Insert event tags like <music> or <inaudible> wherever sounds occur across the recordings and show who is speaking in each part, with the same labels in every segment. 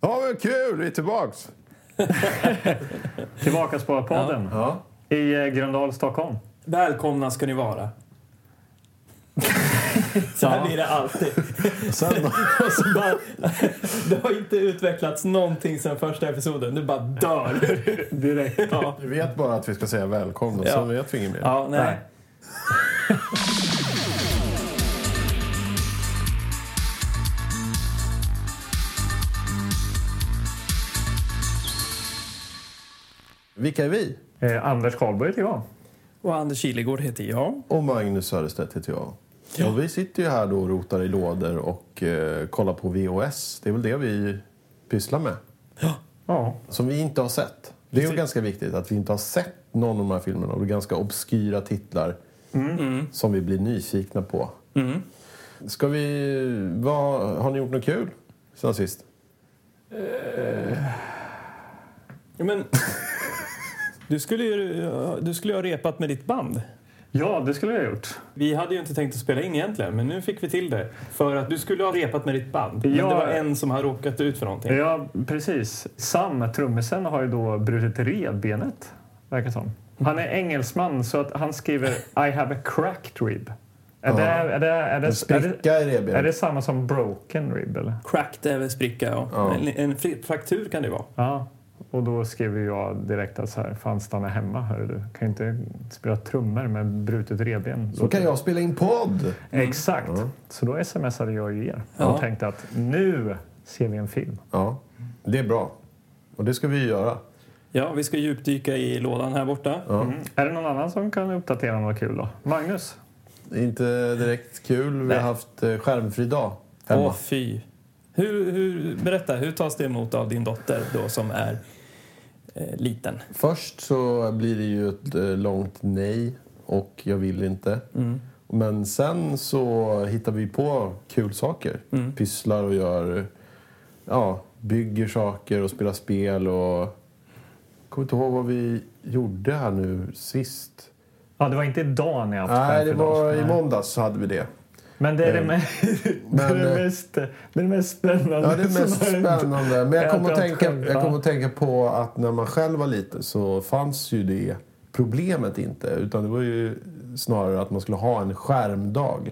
Speaker 1: Ja, vad kul! Vi är tillbaks!
Speaker 2: Tillbaka på podden i eh, Gröndal, Stockholm.
Speaker 3: Välkomna ska ni vara. Så här blir det alltid.
Speaker 1: Sen då?
Speaker 3: <laughs> Och så bara, det har inte utvecklats någonting sen första episoden. Du bara dör.
Speaker 2: Direkt.
Speaker 3: Ja,
Speaker 1: Vi vet bara att vi ska säga välkomna, så
Speaker 3: Ja.
Speaker 1: vet vi inget mer.
Speaker 3: ja nej.
Speaker 1: Vilka är vi?
Speaker 2: Eh, Anders Karlberg heter jag.
Speaker 3: Och Anders Kilegård heter jag.
Speaker 1: Och Magnus Söderstedt heter jag. Och vi sitter ju här då och rotar i lådor och eh, kollar på VHS. Det är väl det vi pysslar med.
Speaker 2: Ja.
Speaker 1: Som vi inte har sett. Det är ju ganska viktigt att vi inte har sett någon av de här filmerna. Och det är ganska obskyra titlar
Speaker 2: Mm.
Speaker 1: som vi blir nyfikna på. Ska vi... Vad, har ni gjort något kul sen sist?
Speaker 3: Ja, men, du, skulle ju, du skulle ju ha repat med ditt band.
Speaker 2: ja, det skulle jag ha gjort.
Speaker 3: Vi hade ju inte tänkt att spela in egentligen, men nu fick vi till det. För att du skulle ha repat med ditt band. Men
Speaker 2: Ja.
Speaker 3: det var en som har råkat ut för någonting.
Speaker 2: Ja, precis. Sam, trummisen, har ju då brutit revbenet, verkar som. Han är engelsman, så att han skriver I have a cracked rib. Är, det, är, det, är, det,
Speaker 1: En
Speaker 2: är, det,
Speaker 1: spricka i
Speaker 2: är
Speaker 1: revbenet.
Speaker 2: det samma som broken rib, eller?
Speaker 3: Cracked är väl spricka, ja.
Speaker 1: Ja.
Speaker 3: En, en fri- fraktur kan det vara.
Speaker 2: Ja. Och då skriver jag direkt att så här, fan stanna hemma hörru du. Kan ju inte spela trummor med brutet revben.
Speaker 1: Då kan jag spela in podd!
Speaker 2: Exakt. Så då smsade jag ju er och
Speaker 3: Ja.
Speaker 2: tänkte att nu ser vi en film.
Speaker 1: Ja, det är bra. Och det ska vi göra.
Speaker 3: Ja, vi ska djupdyka i lådan här borta.
Speaker 2: Mm. Är det någon annan som kan uppdatera något kul då? Magnus?
Speaker 1: Det är Inte direkt kul. Vi har haft eh, skärmfri dag hemma.
Speaker 3: Åh, fy. Hur, hur, berätta, hur tas det emot av din dotter då som är eh, liten?
Speaker 1: Först så blir det ju ett eh, långt nej och jag vill inte. Men sen så hittar vi på kul saker. Pysslar och gör... Ja, bygger saker och spelar spel och... Jag kommer inte ihåg vad vi gjorde här nu sist.
Speaker 2: Ja, det var inte idag ni har haft
Speaker 1: Nej,
Speaker 2: skärm
Speaker 1: det
Speaker 2: för dagen.
Speaker 1: var i
Speaker 2: Nej.
Speaker 1: måndags så hade vi det.
Speaker 2: Men det är det,
Speaker 1: Eh,
Speaker 2: me-
Speaker 1: men,
Speaker 2: <laughs> det, är
Speaker 1: eh,
Speaker 2: det, mest, det är det mest spännande.
Speaker 1: Ja, det är mest
Speaker 2: <laughs> som har hänt.
Speaker 1: spännande. Men jag
Speaker 2: Jag
Speaker 1: kommer att
Speaker 2: tror att
Speaker 1: tänka,
Speaker 2: själv-
Speaker 1: jag
Speaker 2: ja.
Speaker 1: kommer att tänka på att när man själv var liten så fanns ju det problemet inte. Utan det var ju snarare att man skulle ha en skärmdag.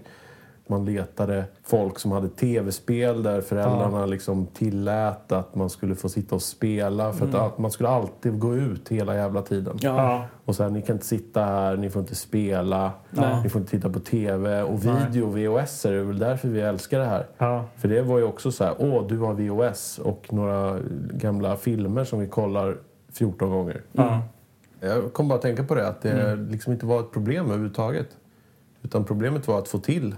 Speaker 1: Man letade folk som hade tv-spel där föräldrarna liksom tillät att man skulle få sitta och spela. För att, att man skulle alltid gå ut hela jävla tiden.
Speaker 2: Mm. Ja.
Speaker 1: Och så här, ni kan inte sitta här, ni får inte spela,
Speaker 3: Nej.
Speaker 1: ni får inte titta på tv. Och video, VHS, är det väl därför vi älskar det här.
Speaker 2: Ja.
Speaker 1: För det var ju också så här, åh du har VHS och några gamla filmer som vi kollar 14 gånger.
Speaker 2: Ja.
Speaker 1: Jag kom bara att tänka på det, att det
Speaker 2: Mm.
Speaker 1: liksom inte var ett problem överhuvudtaget. Utan problemet var att få till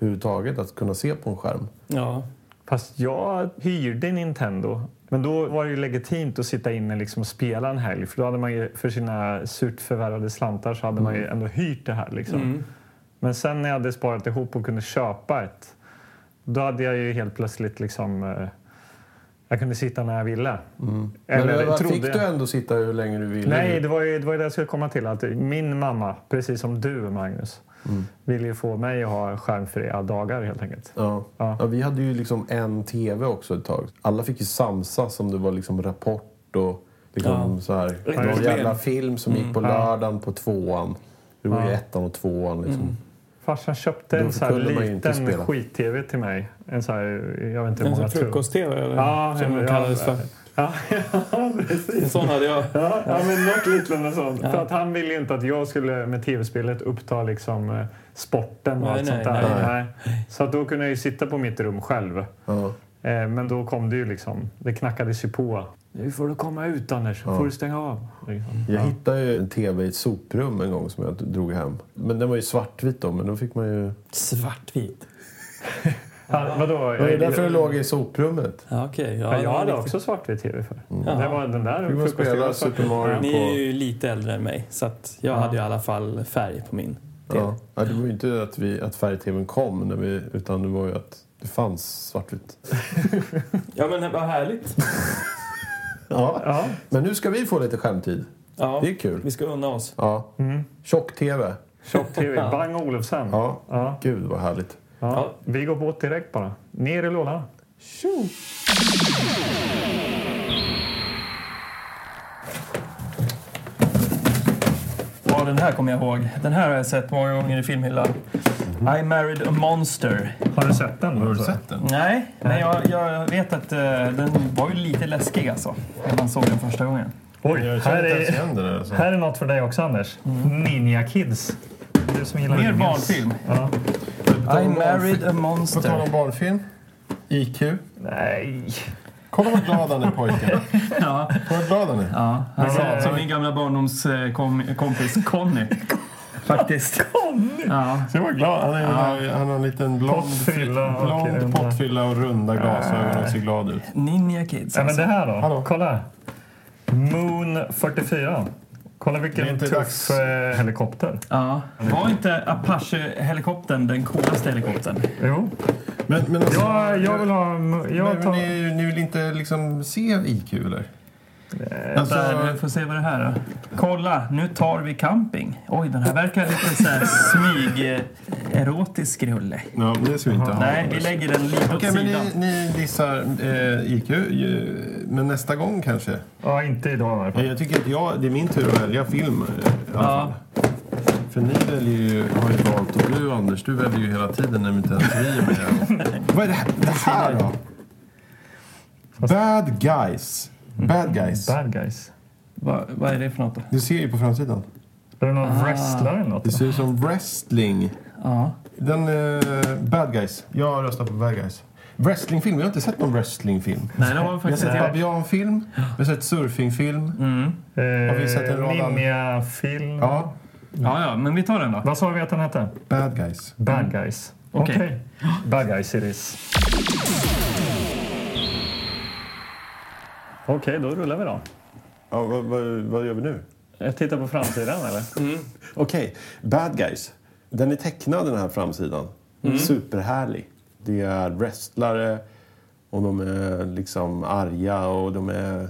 Speaker 1: överhuvudtaget, att kunna se på en skärm.
Speaker 3: Ja,
Speaker 2: Fast jag hyrde Nintendo. Men då var det ju legitimt att sitta inne liksom och spela en helg. För då hade man ju för sina surt förvärvade slantar så hade man
Speaker 1: Mm.
Speaker 2: ju ändå hyrt det här. Liksom.
Speaker 3: Mm.
Speaker 2: Men sen när jag hade sparat ihop och kunde köpa ett. Då hade jag ju helt plötsligt liksom... eh, Jag kunde sitta när jag ville.
Speaker 1: Men
Speaker 2: Mm. Eller
Speaker 1: över-
Speaker 2: trodde
Speaker 1: fick
Speaker 2: jag.
Speaker 1: du ändå sitta hur länge du ville?
Speaker 2: Nej, det var ju det, var ju det jag skulle komma till. Att min mamma, precis som du Magnus,
Speaker 1: Mm.
Speaker 2: ville ju få mig att ha skärmfria dagar helt enkelt.
Speaker 1: Ja. Ja.
Speaker 2: Ja.
Speaker 1: vi hade ju liksom en tv också ett tag. Alla fick ju samsas om det var liksom Rapport och liksom så här, någon
Speaker 3: problem.
Speaker 1: jävla film som
Speaker 2: Mm.
Speaker 1: gick på lördagen på tvåan. Det var ju ettan och tvåan liksom.
Speaker 2: Mm. Farsan köpte
Speaker 1: Då
Speaker 2: en så här
Speaker 1: kunde man ju inte
Speaker 2: liten
Speaker 1: spela.
Speaker 2: skit-tv till mig. En så här, jag vet inte hur
Speaker 3: en
Speaker 2: många tum.
Speaker 3: sån frukost-tv eller?
Speaker 2: Ja,
Speaker 3: som
Speaker 2: ja,
Speaker 3: det kallades
Speaker 2: ja.
Speaker 3: för.
Speaker 2: Ja, <laughs> ja, precis.
Speaker 3: En sån hade jag.
Speaker 2: Ja, ja, men något liknande sånt. För att han ville ju inte att jag skulle med tv-spelet uppta liksom eh, sporten och
Speaker 3: Nej,
Speaker 2: allt
Speaker 3: nej,
Speaker 2: sånt där.
Speaker 3: nej,
Speaker 2: Så att då kunde jag ju sitta på mitt rum själv.
Speaker 1: Ja.
Speaker 2: Eh, Men då kom det ju liksom, det knackades ju på. Nu får du komma ut Anders, får du stänga av. Liksom.
Speaker 1: Jag hittade ju en tv i ett soprum en gång som jag drog hem. Men den var ju svartvit då, men då fick man ju...
Speaker 3: Svartvit.
Speaker 2: Ja, vadå?
Speaker 1: Det var ju därför den låg i soprummet.
Speaker 3: Ja, okej.
Speaker 2: Ja, jag hade
Speaker 3: riktigt.
Speaker 2: också svartvit tv för.
Speaker 3: Ja.
Speaker 2: Det var den där
Speaker 1: Fick man
Speaker 2: frukosten
Speaker 1: spela
Speaker 2: var svart.
Speaker 1: Super Mario
Speaker 3: Ni är
Speaker 1: på...
Speaker 3: ju lite äldre än mig, så att jag hade ju i alla fall färg på min.
Speaker 1: Ja. Ja, det var ju inte att, vi- att färg-tvn kom, när vi, utan det var ju att det fanns svartvitt.
Speaker 3: Ja, men vad härligt.
Speaker 1: Ja.
Speaker 2: Ja,
Speaker 1: Men nu ska vi få lite skärmtid.
Speaker 3: Ja,
Speaker 1: Det är kul.
Speaker 3: vi ska unna oss.
Speaker 1: Ja.
Speaker 2: Mm.
Speaker 1: Tjock-tv.
Speaker 2: tjock-tv. Bang Olufsen. Ja.
Speaker 1: Ja.
Speaker 2: Ja.
Speaker 1: Gud, vad härligt.
Speaker 2: Vi går på direkt bara. Ner i lådan.
Speaker 1: Tjo!
Speaker 3: den här kommer jag ihåg. Den här har jag sett många gånger i filmhyllan. I married a monster.
Speaker 2: Har du sett den? Har du sett den?
Speaker 3: Nej, men jag, jag vet att eh, den var ju lite läskig alltså. När man såg den första gången.
Speaker 2: Oj,
Speaker 1: Jag
Speaker 2: här
Speaker 1: känner inte ens
Speaker 2: är,
Speaker 1: igen det där. Alltså.
Speaker 2: här är något för dig också Anders.
Speaker 1: Mm.
Speaker 2: Ninja Kids. Du som gillar
Speaker 3: Mer
Speaker 2: ninjas.
Speaker 3: barnfilm.
Speaker 2: Ja.
Speaker 3: I married a
Speaker 1: På tal om
Speaker 3: monster.
Speaker 1: barnfilm. IQ.
Speaker 2: Nej.
Speaker 1: Kolla vad glad han är pojken.
Speaker 3: <laughs> Ja, eh,
Speaker 1: Kolla vad glad han är.
Speaker 3: ja. Han ser
Speaker 2: Ja.
Speaker 3: ut som min gamla barndomskompis Conny. <laughs> Faktiskt. Conny! Ja.
Speaker 1: Se vad glad han är. Han har en liten blond
Speaker 2: Pottfylla och
Speaker 1: blond
Speaker 2: runda.
Speaker 1: pottfylla och runda glasögon och ser glad ut.
Speaker 3: Ninja Kids
Speaker 2: Ja, men
Speaker 3: alltså.
Speaker 2: det här då?
Speaker 1: Hallå.
Speaker 2: Kolla. Moon 44. Kolla
Speaker 1: Det är
Speaker 2: vilken
Speaker 1: inte
Speaker 2: tuff
Speaker 1: dags.
Speaker 2: eh, helikopter.
Speaker 3: Ja. Var inte Apache-helikoptern den coolaste helikoptern?
Speaker 2: Jo.
Speaker 1: Men, men alltså,
Speaker 2: Jag, jag vill ha... Jag
Speaker 1: men,
Speaker 2: tar,
Speaker 1: ni, ni vill inte liksom se IQ eller? Alltså,
Speaker 3: Eh, Där, vi får se vad det här är. Kolla, nu tar vi camping. Oj, den här verkar lite så här smyg-erotisk rulle.
Speaker 1: ja, men det ska vi inte ha.
Speaker 3: Nej, vi lägger den lite åt
Speaker 1: Okej, men
Speaker 3: sidan.
Speaker 1: ni, ni dissar eh, IQ, ju, men nästa gång kanske?
Speaker 2: ja, inte idag i alla fall.
Speaker 1: Nej, Jag tycker att jag, det är min tur att välja film eh, i alla
Speaker 3: Ja.
Speaker 1: fall. För ni väljer ju, har ju valt, och du Anders, du väljer ju hela tiden när inte ens vi är med. <laughs> Vad är det här, det här då? Bad guys. Bad guys.
Speaker 2: Bad guys.
Speaker 3: Vad, vad är det för något då?
Speaker 1: Du ser ju på framsidan.
Speaker 2: Är det någon
Speaker 1: Ah.
Speaker 2: wrestler eller något?
Speaker 1: Det ser ut som wrestling.
Speaker 3: Ja.
Speaker 1: Den, eh, bad guys. Jag röstar på bad guys. Wrestlingfilm, jag har inte sett någon wrestling-film.
Speaker 3: Nej, det var
Speaker 1: Jag har
Speaker 3: faktiskt
Speaker 1: sett
Speaker 3: inte.
Speaker 1: babianfilm, jag har sett surfingfilm.
Speaker 2: Eh,
Speaker 1: Har vi sett en rad andra?
Speaker 2: Ninjafilm.
Speaker 1: Ja,
Speaker 3: Ja, ja, men vi tar den då.
Speaker 2: Vad sa vi att den hette?
Speaker 1: bad guys.
Speaker 2: Bad guys.
Speaker 3: Okej.
Speaker 2: Okej. Bad guys it is. Okej, då rullar vi då.
Speaker 1: Ja, vad, vad, vad gör vi nu?
Speaker 2: Jag tittar på framsidan eller?
Speaker 1: Okej, Bad Guys. Den är tecknad den här framsidan. Mm. Superhärlig. Det är wrestlare och de är liksom arga och de är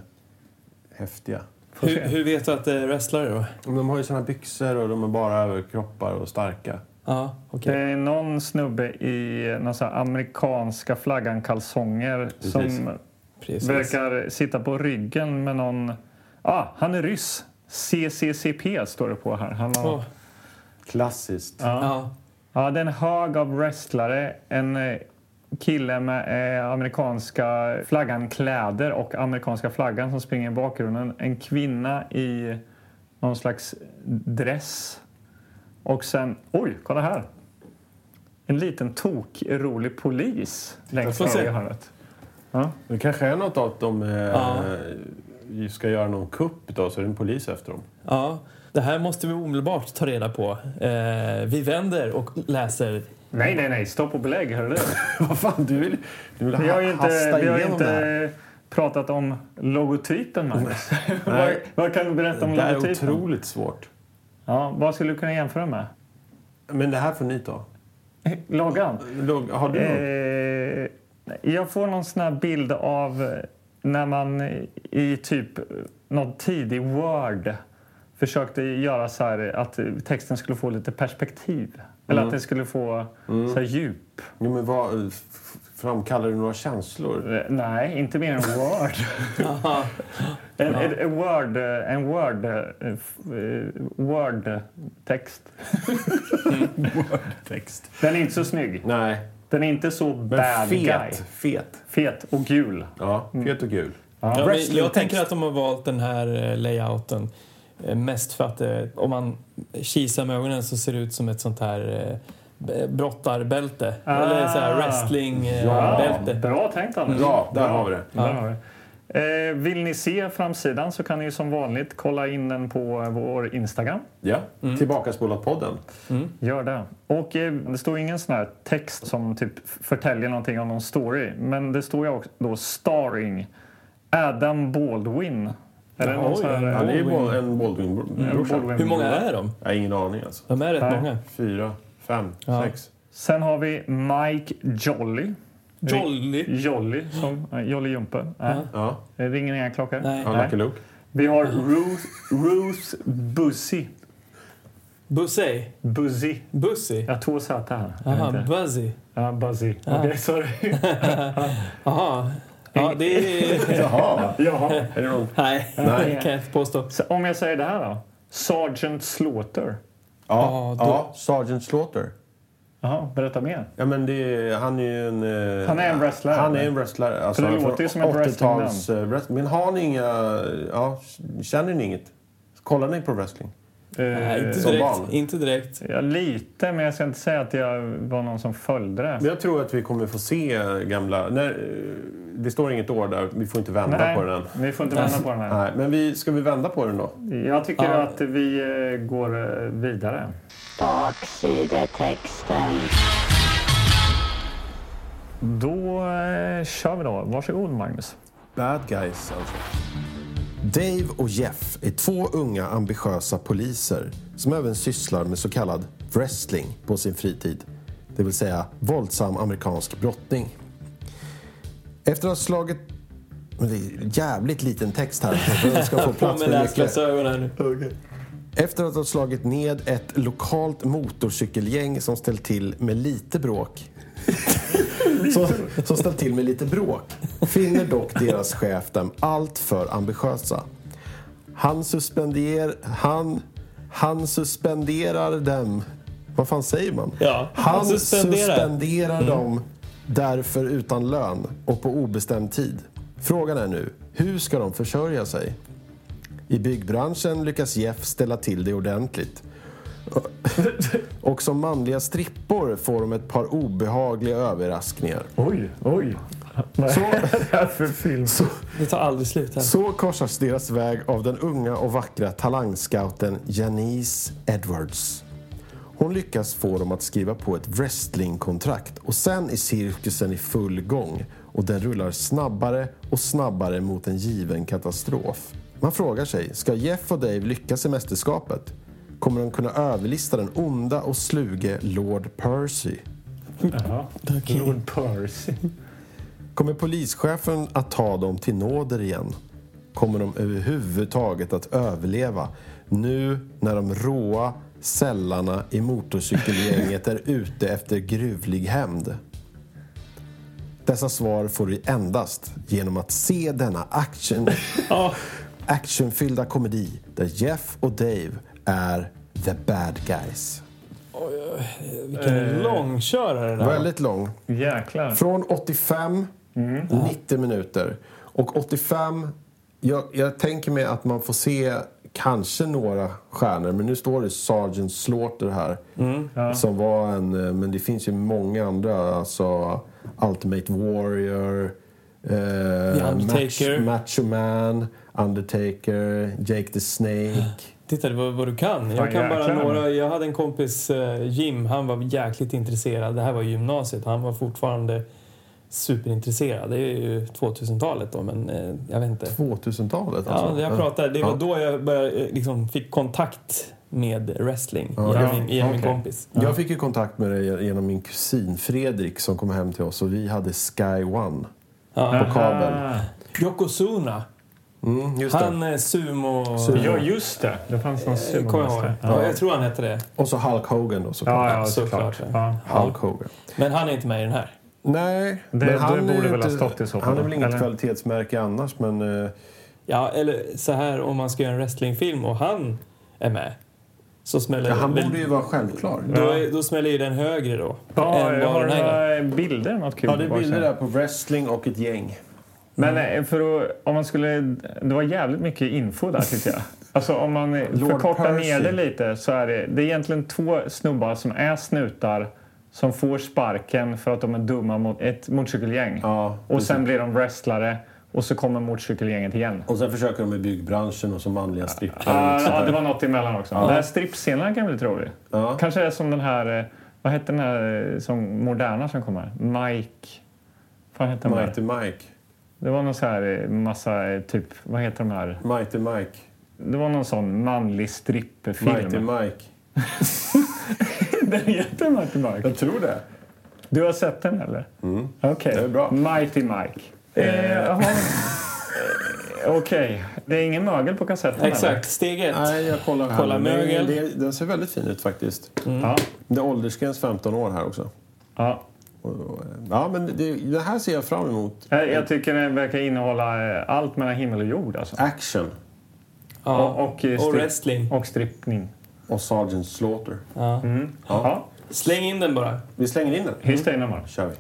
Speaker 1: häftiga.
Speaker 3: Hur, vet du att det är wrestlare då?
Speaker 1: De har ju såna byxor och de är bara överkroppar och starka.
Speaker 3: Ja, okej.
Speaker 2: Det är någon snubbe i någon sån här amerikanska flaggan kalsonger som
Speaker 3: Precis.
Speaker 2: verkar sitta på ryggen med någon... Ah, han är ryss! CCCP står det på här. Han har...
Speaker 3: Åh,
Speaker 1: Klassiskt.
Speaker 3: Ja.
Speaker 2: Ja, det är en hög av wrestlare, en eh, kille med eh, amerikanska flaggan-kläder och amerikanska flaggan som springer i bakgrunden. En kvinna i någon slags dress. Och sen, oj, kolla här! En liten tokrolig polis längst
Speaker 3: Jag får
Speaker 2: fram
Speaker 3: se.
Speaker 2: i hörnet.
Speaker 1: Det kanske är något att de eh,
Speaker 3: Ja.
Speaker 1: ska göra någon kupp då, så är det en polis efter dem.
Speaker 3: ja. Det här måste vi omedelbart ta reda på. Eh, vi vänder och läser.
Speaker 2: Nej, nej, nej, stopp och belägg, hörru
Speaker 1: <laughs> <laughs>
Speaker 2: du.
Speaker 1: Vad fan, du vill, du vill
Speaker 2: Vi har ju
Speaker 1: hasta
Speaker 2: inte, vi har ju
Speaker 1: igenom det här.
Speaker 2: inte pratat om logotypen, Magnus.
Speaker 1: <laughs>
Speaker 2: vad,
Speaker 1: Nej.
Speaker 2: vad kan du berätta om
Speaker 1: Det här är
Speaker 2: logotypen?
Speaker 1: otroligt svårt.
Speaker 2: Ja, vad skulle du kunna jämföra med?
Speaker 1: Men det här får ni ta.
Speaker 2: Loggan?
Speaker 1: Log- Har du någon?
Speaker 2: Eh, jag får någon sån här bild av eh, när man i typ någon tidig Word försökte göra så här eh, att texten skulle få lite perspektiv. Eller
Speaker 3: Mm.
Speaker 2: att den skulle få så här djup.
Speaker 1: Jo, men vad, eh, f- framkallar du några känslor?
Speaker 2: Eh, Nej, inte mer än Word.
Speaker 3: <laughs>
Speaker 2: en, en, en Word, en Word, eh, f- eh, Word-text.
Speaker 1: Text.
Speaker 2: Den är inte så snygg.
Speaker 1: Nej,
Speaker 2: Den är inte så
Speaker 1: men fet.
Speaker 2: bad guy. Mm.
Speaker 1: Fet.
Speaker 2: Fet och gul.
Speaker 1: Ja, fet och gul.
Speaker 3: Ja, men jag
Speaker 1: Wrestlingtext.
Speaker 3: tänker att de har valt den här eh, layouten eh, mest för att eh, om man kisar med ögonen så ser det ut som ett sånt här eh, b- brottarbälte.
Speaker 2: Ah.
Speaker 3: Eller så här wrestlingbälte.
Speaker 1: Ja.
Speaker 2: Ja,
Speaker 3: bälte.
Speaker 2: bra tänkt Anders.
Speaker 1: Bra, där har vi det.
Speaker 2: Där har vi det. Eh, vill ni se framsidan så kan ni ju som vanligt kolla in den på eh, vår Instagram.
Speaker 1: Ja,
Speaker 2: Mm.
Speaker 1: tillbakaspolat podden.
Speaker 2: Gör det. Och eh, det står ingen sån här text som typ förtäljer någonting om någon story. Men det står ju också då starring Adam Baldwin. Är det
Speaker 3: Ja,
Speaker 2: någon
Speaker 3: oj,
Speaker 2: sån här, eh,
Speaker 1: Han är ju
Speaker 3: Baldwin.
Speaker 1: bo- en Baldwin-brorsa.
Speaker 2: Mm, Baldwin-
Speaker 3: Hur många är de?
Speaker 1: Jag har ingen aning alltså.
Speaker 3: De är rätt
Speaker 2: Nej.
Speaker 3: många.
Speaker 1: Fyra, fem,
Speaker 3: Ja.
Speaker 1: sex.
Speaker 2: Sen har vi Mike Jolly.
Speaker 3: Jolly.
Speaker 2: Jolly, som, eh, Jolly Jumpe. Nej,
Speaker 1: Ja,
Speaker 2: det ringer inga klockor.
Speaker 3: Nej.
Speaker 1: ja Lucky Luke.
Speaker 2: Vi har Ruth, Ruth Buzzy.
Speaker 3: Busey.
Speaker 2: Buzzy.
Speaker 3: Busy.
Speaker 2: Jag har två Z här. Jag vet
Speaker 3: Aha,
Speaker 2: inte.
Speaker 3: Buzzy.
Speaker 2: Ja, Buzzy. Okej, sorry.
Speaker 3: Aha. Ja, det är...
Speaker 2: <laughs>
Speaker 1: Jaha,
Speaker 2: Jaha.
Speaker 1: är det någon?
Speaker 3: Nej,
Speaker 2: Nej. Eh,
Speaker 3: det kan jag inte påstå.
Speaker 2: Så om jag säger det här då. Sergeant Slaughter.
Speaker 3: Ja,
Speaker 4: Ja,
Speaker 3: då-
Speaker 4: ja Sergeant Slaughter.
Speaker 2: Jaha, berätta mer.
Speaker 4: Ja, men det, är- han är ju en... eh,
Speaker 2: Han är en wrestlare,
Speaker 4: Han
Speaker 2: eller?
Speaker 4: är en wrestlare. Alltså,
Speaker 2: För det
Speaker 4: han är
Speaker 2: låter ju
Speaker 4: från
Speaker 2: som ett
Speaker 4: 80-tals, eh, wrestling. Men har ni inga... Ja, känner ni inget? Kollar ni på wrestling?
Speaker 3: Nej, inte
Speaker 4: som
Speaker 3: direkt.
Speaker 4: barn.
Speaker 3: Inte direkt.
Speaker 2: Eh, Ja, lite, men jag ska inte säga att jag var någon som följde det.
Speaker 4: Men jag tror att vi kommer få se gamla... När, eh, det står inget år där. Vi får inte vända på den.
Speaker 2: vi får inte vända på den här.
Speaker 4: Nej, men vi, ska vi vända på den då?
Speaker 2: Jag tycker
Speaker 3: Ja.
Speaker 2: att vi eh, går eh, vidare.
Speaker 5: Baksidetexten.
Speaker 2: Då eh, kör vi då. Varsågod Magnus.
Speaker 4: Bad guys, alltså.
Speaker 1: Dave och Jeff är två unga ambitiösa poliser som även sysslar med så kallad wrestling på sin fritid. Det vill säga våldsam amerikansk brottning. Efter att ha slagit... Men det är jävligt liten text här. för att Jag ska få
Speaker 3: På
Speaker 1: plats
Speaker 3: med
Speaker 1: med mycket.
Speaker 3: läsglasögon här nu.
Speaker 1: Efter att ha slagit ned ett lokalt motorcykelgäng som ställt till med lite bråk. som, som ställt till med lite bråk. Finner dock deras chef dem allt för ambitiösa. Han suspenderar... Han... Han suspenderar dem. Vad fan säger man?
Speaker 3: Ja,
Speaker 1: han,
Speaker 3: han suspenderar.
Speaker 1: suspenderar, Mm. dem därför utan lön och på obestämd tid. Frågan är nu, hur ska de försörja sig? I byggbranschen lyckas Jeff ställa till det ordentligt. Och som manliga strippor får de ett par obehagliga överraskningar.
Speaker 2: Oj, oj. Vad
Speaker 1: Så-
Speaker 2: är det här
Speaker 4: <laughs>
Speaker 2: för film?
Speaker 3: Det tar aldrig slut
Speaker 2: Eh,
Speaker 3: här.
Speaker 1: Så korsas deras väg av den unga och vackra talangscouten Janice Edwards. Hon lyckas få dem att skriva på ett wrestlingkontrakt och sen är cirkusen i full gång och den rullar snabbare och snabbare mot en given katastrof. Man frågar sig, ska Jeff och Dave lyckas i mästerskapet? Kommer de kunna överlista den onda och sluge Lord Percy?
Speaker 2: Jaha. Lord Percy.
Speaker 1: Kommer polischefen att ta dem till nåder igen? Kommer de överhuvudtaget att överleva nu när de råa sällarna i motorcykelgänget är ute efter gruvlig hämnd? Dessa svar får du endast genom att se denna action, actionfyllda komedi där Jeff och Dave är the bad guys.
Speaker 3: Vilken långkörare det där var.
Speaker 1: Väldigt lång.
Speaker 2: Jäklar.
Speaker 1: Från 85, 90 minuter. Och 85, jag, jag tänker mig att man får se kanske några stjärnor, men nu står det Sergeant Slaughter här.
Speaker 3: Mm.
Speaker 1: Som var en, eh, men det finns ju många andra, alltså Ultimate Warrior, eh,
Speaker 3: Undertaker.
Speaker 1: Match, Macho Man, Undertaker, Jake the Snake.
Speaker 3: Titta det var vad du kan. Jag
Speaker 2: Fan,
Speaker 3: kan bara
Speaker 2: jäklar.
Speaker 3: några. Jag hade en kompis, eh, Jim, han var jäkligt intresserad. Det här var i gymnasiet. Han var fortfarande superintresserad. Det är ju 2000-talet då, men eh, jag vet inte.
Speaker 1: 2000-talet
Speaker 3: Ja,
Speaker 1: alltså.
Speaker 3: jag pratade, det var
Speaker 1: Ja.
Speaker 3: då jag började, eh, liksom, fick kontakt med wrestling genom
Speaker 1: ja.
Speaker 3: min, genom min
Speaker 2: Okej.
Speaker 3: kompis.
Speaker 1: Jag fick ju kontakt med det genom min kusin Fredrik som kom hem till oss och vi hade Sky One.
Speaker 3: Ja.
Speaker 1: på kabel.
Speaker 2: Aha.
Speaker 3: Yokozuna,
Speaker 1: Mm, just det.
Speaker 3: han är sumo...
Speaker 1: Sumo.
Speaker 2: Ja, just det. Det fanns någon
Speaker 3: Typ. Eh, Kommer jag ihåg.
Speaker 2: sumomästare.
Speaker 3: Ja, jag tror han hette det.
Speaker 1: Och så Hulk Hogan då såklart.
Speaker 2: Ja, ja,
Speaker 3: Såklart.
Speaker 2: såklart. Ja.
Speaker 1: Hulk Hogan.
Speaker 3: Men han är inte med i den här.
Speaker 1: Nej,
Speaker 2: Det- det
Speaker 1: är
Speaker 2: borde
Speaker 1: ju
Speaker 2: väl ha stått i så fall,
Speaker 1: Han är väl inget
Speaker 2: eller?
Speaker 1: kvalitetsmärke annars men... eh,
Speaker 3: Ja, eller så här om man ska göra en wrestlingfilm och han är med. Så smäller
Speaker 1: ja, han
Speaker 3: väl-
Speaker 1: borde ju vara självklar.
Speaker 3: då, är, då smäller ju den högre då.
Speaker 2: Ja,
Speaker 3: än
Speaker 2: jag
Speaker 3: vad
Speaker 2: har
Speaker 3: den här gör.
Speaker 2: några bilder, något kul.
Speaker 1: Ja, det är
Speaker 2: på baksidan.
Speaker 1: bilder där på wrestling och ett gäng.
Speaker 2: Men eh, för att, om man skulle... Det var jävligt mycket info där
Speaker 1: <laughs>
Speaker 2: tyckte jag. Alltså om man eh,
Speaker 1: Lord
Speaker 2: förkortar
Speaker 1: Percy.
Speaker 2: ner det lite så är det, det är egentligen två snubbar som är snutar som får sparken för att de är dumma mot ett motorcykelgäng.
Speaker 1: Ja,
Speaker 2: och sen blir de wrestlare och så kommer motorcykelgänget igen.
Speaker 4: Och sen försöker de i byggbranschen och som manliga strippor.
Speaker 2: Ja, ja, det var något emellan också. Den här strippscenen kan bli lite rolig. Kanske är som den här... eh, Vad hette den här eh, som moderna som kommer? Mike... Vad hette den? där?
Speaker 1: typ.
Speaker 4: Mighty Mike.
Speaker 2: Det var någon så här eh, massa eh, typ... Vad heter de här?
Speaker 4: Mighty Mike.
Speaker 2: Det var någon sån manlig
Speaker 4: Mighty
Speaker 2: strippfilm.
Speaker 4: Mike.
Speaker 2: Den heter Mighty Mike.
Speaker 4: Jag tror det.
Speaker 2: Du har sett den eller? Mm. Okej.
Speaker 4: Det är bra.
Speaker 2: Mighty Mike. Eh, jaha. Eh, Okej. Det är ingen mögel på kassetten
Speaker 3: Exakt, steg ett.
Speaker 4: Nej, jag kollar här.
Speaker 3: Kolla
Speaker 4: nu. Den-
Speaker 3: mögel.
Speaker 4: det- Den ser väldigt fin ut faktiskt.
Speaker 2: eller? Ja.
Speaker 4: Det är åldersgräns 15 år här också.
Speaker 2: ja.
Speaker 4: Och- och- Ja, men det, det här ser jag fram emot.
Speaker 2: Eh, Jag tycker den verkar innehålla eh, allt mellan himmel och jord alltså.
Speaker 4: Action.
Speaker 3: Ja.
Speaker 2: Och, och, eh,
Speaker 3: Och
Speaker 2: strip-
Speaker 3: wrestling.
Speaker 2: och strippning.
Speaker 4: Och Sergeant Slaughter.
Speaker 3: Ja.
Speaker 2: Ja,
Speaker 3: Släng in den bara.
Speaker 4: Vi slänger in den.
Speaker 2: hiss dig Namar.
Speaker 4: kör vi.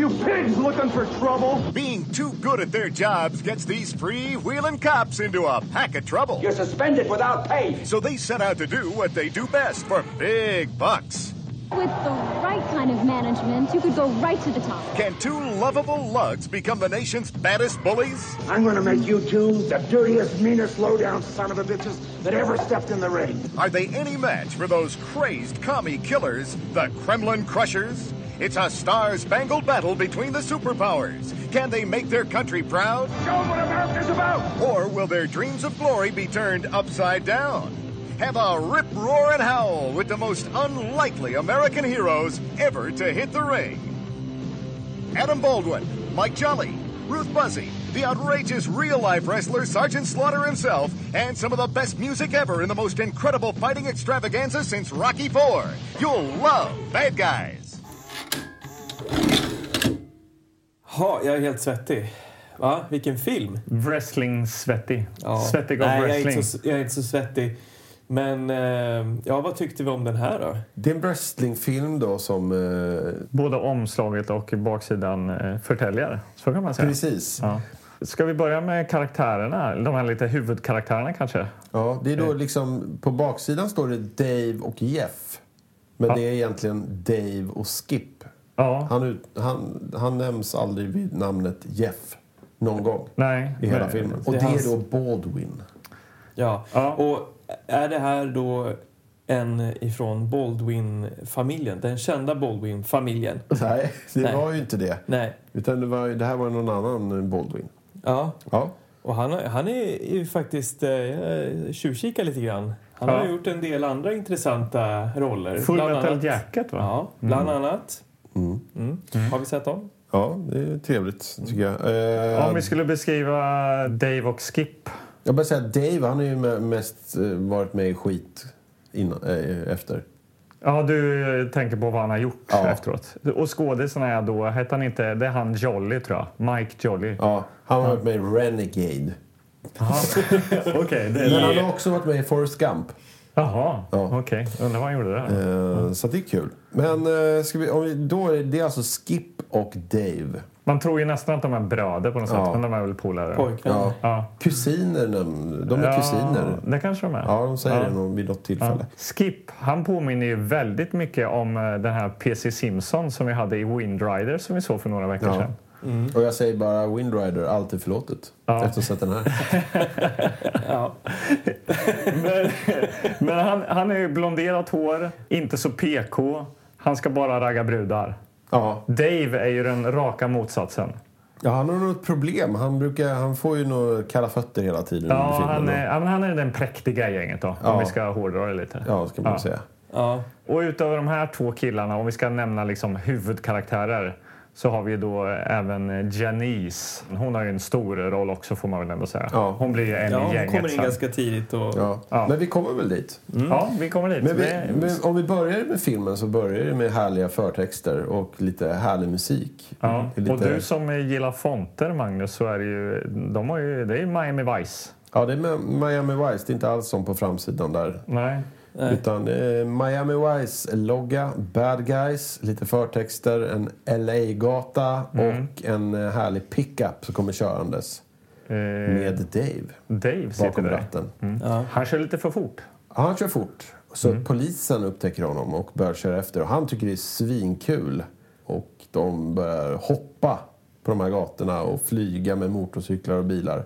Speaker 5: You pigs looking for trouble?
Speaker 6: Being too good at their jobs gets these free-wheeling cops into a pack of trouble.
Speaker 5: You're suspended without pay.
Speaker 6: So they set out to do what they do best for big bucks.
Speaker 7: With the right kind of management, you could go right to the top.
Speaker 6: Can two lovable lugs become the nation's baddest bullies?
Speaker 8: I'm gonna make you two the dirtiest, meanest, low-down son of a bitches that ever stepped in the ring.
Speaker 6: Are they any match for those crazed commie killers, the Kremlin Crushers? It's a star-spangled battle between the superpowers. Can they make their country proud?
Speaker 8: Show what America's about!
Speaker 6: Or will their dreams of glory be turned upside down? Have a rip roar and howl with the most unlikely American heroes ever to hit the ring. Adam Baldwin, Mike Jolly, Ruth Buzzy, the outrageous real life wrestler Sergeant Slaughter himself, and some of the best music ever in the most incredible fighting extravaganza since Rocky IV. You'll love Bad Guys.
Speaker 3: Ha, jag är helt svettig. Va? Vilken film!
Speaker 2: Wrestling-svettig.
Speaker 3: Ja.
Speaker 2: Svettig av
Speaker 3: Nej,
Speaker 2: wrestling.
Speaker 3: Jag är, inte så, jag är inte så svettig. Men eh, ja, vad tyckte vi om den här då?
Speaker 1: Det är en wrestlingfilm då som... Eh,
Speaker 2: Både omslaget och baksidan eh, förtäljer. Så kan man säga.
Speaker 1: precis. Ja.
Speaker 2: Ja. Ska vi börja med karaktärerna? De här lite huvudkaraktärerna kanske?
Speaker 1: det är då liksom... På baksidan står det Dave och Jeff. Men det är egentligen Dave och Skip.
Speaker 2: Ja.
Speaker 1: Han, ut, han, han nämns aldrig vid namnet Jeff någon gång
Speaker 2: Nej.
Speaker 1: i hela
Speaker 2: men-
Speaker 1: filmen. Och
Speaker 3: det
Speaker 1: det
Speaker 3: är hans-
Speaker 1: är då Baldwin.
Speaker 3: Ja.
Speaker 2: Ja.
Speaker 3: Och är det här då en ifrån Baldwin-familjen? Den kända Baldwin-familjen?
Speaker 1: Nej, det
Speaker 3: Nej.
Speaker 1: var ju inte det.
Speaker 3: Nej.
Speaker 1: Utan det, var, ju- det här var någon annan än Baldwin.
Speaker 3: Ja.
Speaker 1: Ja.
Speaker 3: Och han, har- han är ju faktiskt... Eh, jag tjuvkikar lite grann. Han
Speaker 2: Ja.
Speaker 3: har gjort en del andra intressanta roller.
Speaker 2: Full
Speaker 3: Bland
Speaker 2: metal
Speaker 3: annat-
Speaker 2: jacket va? Mm.
Speaker 3: Ja, bland annat. Mm. Har vi sett dem?
Speaker 1: ja, det är trevligt tycker jag. Eh,
Speaker 2: Om vi skulle beskriva Dave och Skip.
Speaker 1: Jag bara säga att Dave, han har ju me- mest eh, varit med i skit innan, eh, efter.
Speaker 2: Ja, du eh, tänker på vad han har gjort
Speaker 1: Ja.
Speaker 2: efteråt. Och skådisen är då, hette han inte, det är han Jolly tror jag. Mike Jolly.
Speaker 1: Ja, han har varit med i Renegade. Eh.
Speaker 2: Okej, det
Speaker 1: Men
Speaker 2: är...
Speaker 1: han har också varit med i Forrest Gump.
Speaker 2: Jaha,
Speaker 1: Ja.
Speaker 2: okej. Undrar vad han gjorde där.
Speaker 1: Eh, Så det är kul. Men eh, ska vi, om vi, då är det, det är alltså Skip och Dave.
Speaker 2: Man tror ju nästan att de är bröder på något sätt,
Speaker 1: Ja.
Speaker 2: men de är väl polare.
Speaker 3: Pojkvän?
Speaker 1: Ja.
Speaker 2: Ja.
Speaker 1: Kusiner, de, de är
Speaker 2: Ja,
Speaker 1: kusiner.
Speaker 2: Det kanske de är.
Speaker 1: Ja, de säger
Speaker 2: Ja.
Speaker 1: det nog vid något
Speaker 2: Ja.
Speaker 1: tillfälle.
Speaker 2: Skip, han påminner ju väldigt mycket om eh, den här PC Simpson som vi hade i Windrider som vi såg för några veckor
Speaker 1: Ja.
Speaker 2: sedan.
Speaker 1: Och jag säger bara Windrider, allt är förlåtet. Efter att ha sett den här.
Speaker 2: Men, men han, han är ju blonderat hår, inte så PK. Han ska bara ragga brudar.
Speaker 1: <laughs> Ja.
Speaker 2: Dave är ju den raka motsatsen.
Speaker 1: ja, han har något problem. Han, brukar, han får ju några kalla fötter hela tiden under
Speaker 2: Ja,
Speaker 1: filmen.
Speaker 2: han är, ja, men han är den präktiga i gänget då, om
Speaker 1: Ja.
Speaker 2: vi ska hårdra det lite.
Speaker 1: Ja, ska man säga.
Speaker 3: Ja.
Speaker 2: Och utöver de här två killarna, om vi ska nämna liksom huvudkaraktärer, så har vi då även Janice. Hon har ju en stor roll också får man väl ändå säga.
Speaker 1: Ja.
Speaker 2: Hon blir ju en
Speaker 3: ja,
Speaker 2: i
Speaker 3: hon
Speaker 2: gänget
Speaker 3: kommer in
Speaker 2: sen.
Speaker 3: ganska tidigt och...
Speaker 1: Ja.
Speaker 2: Ja.
Speaker 1: Men vi kommer väl dit.
Speaker 2: Ja, vi kommer dit.
Speaker 1: Men, vi,
Speaker 2: Det-
Speaker 1: men om vi börjar med filmen så börjar det med härliga förtexter och lite härlig musik.
Speaker 2: Ja.
Speaker 1: Det är lite,
Speaker 2: Och du som gillar fonter, Magnus, så är det ju, de har ju, det är ju Miami Vice.
Speaker 1: Ja, det är med Miami Vice. Det är inte alls som på framsidan där.
Speaker 2: Nej.
Speaker 1: Utan eh, Miami Vice-logga, bad guys, lite förtexter, en LA-gata
Speaker 2: Mm.
Speaker 1: och en eh, härlig pickup som kommer körandes
Speaker 2: Eh,
Speaker 1: med Dave
Speaker 2: Dave sitter
Speaker 1: bakom
Speaker 2: där. Mm.
Speaker 1: ratten.
Speaker 2: Han kör lite för fort.
Speaker 1: Han kör fort. Så
Speaker 2: Mm.
Speaker 1: polisen upptäcker honom och börjar köra efter. Och han tycker det är svinkul. Och de börjar hoppa på de här gatorna och flyga med motorcyklar och bilar.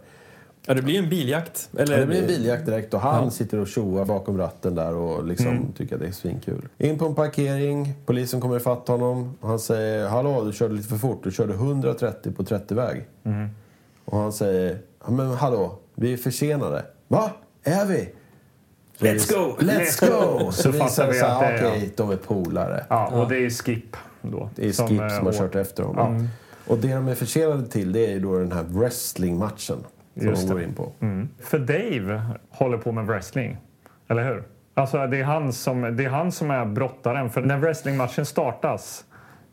Speaker 3: Ja, det blir en biljakt. Eller,
Speaker 1: Det blir en biljakt direkt och han sitter och tjoar bakom ratten där och liksom
Speaker 2: Mm.
Speaker 1: tycker att det är svinkul. In på en parkering, polisen kommer fatta honom. Och han säger “Hallå, du körde lite för fort. Du körde 130 på 30-väg”.
Speaker 2: Mm.
Speaker 1: Och han säger "Ja, “Men hallå, vi är försenade”. “Va? Är vi?”
Speaker 3: Let's go!
Speaker 1: Let's
Speaker 2: <laughs>
Speaker 1: go!
Speaker 2: Så
Speaker 1: Så visar
Speaker 2: fattar
Speaker 1: det
Speaker 2: vi
Speaker 1: sig
Speaker 2: att det
Speaker 1: att
Speaker 2: är-
Speaker 1: okej, de är polare.
Speaker 2: Ja, och det är ju Skip då.
Speaker 1: Det är Skip som,
Speaker 2: eh,
Speaker 1: har
Speaker 2: å-
Speaker 1: kört efter honom. Och det de är försenade till det är ju då den här wrestlingmatchen som
Speaker 2: Just
Speaker 1: de går
Speaker 2: det.
Speaker 1: in på.
Speaker 2: För Dave håller på med wrestling, eller hur? Alltså det är han som, det är, han som är brottaren. För när wrestlingmatchen startas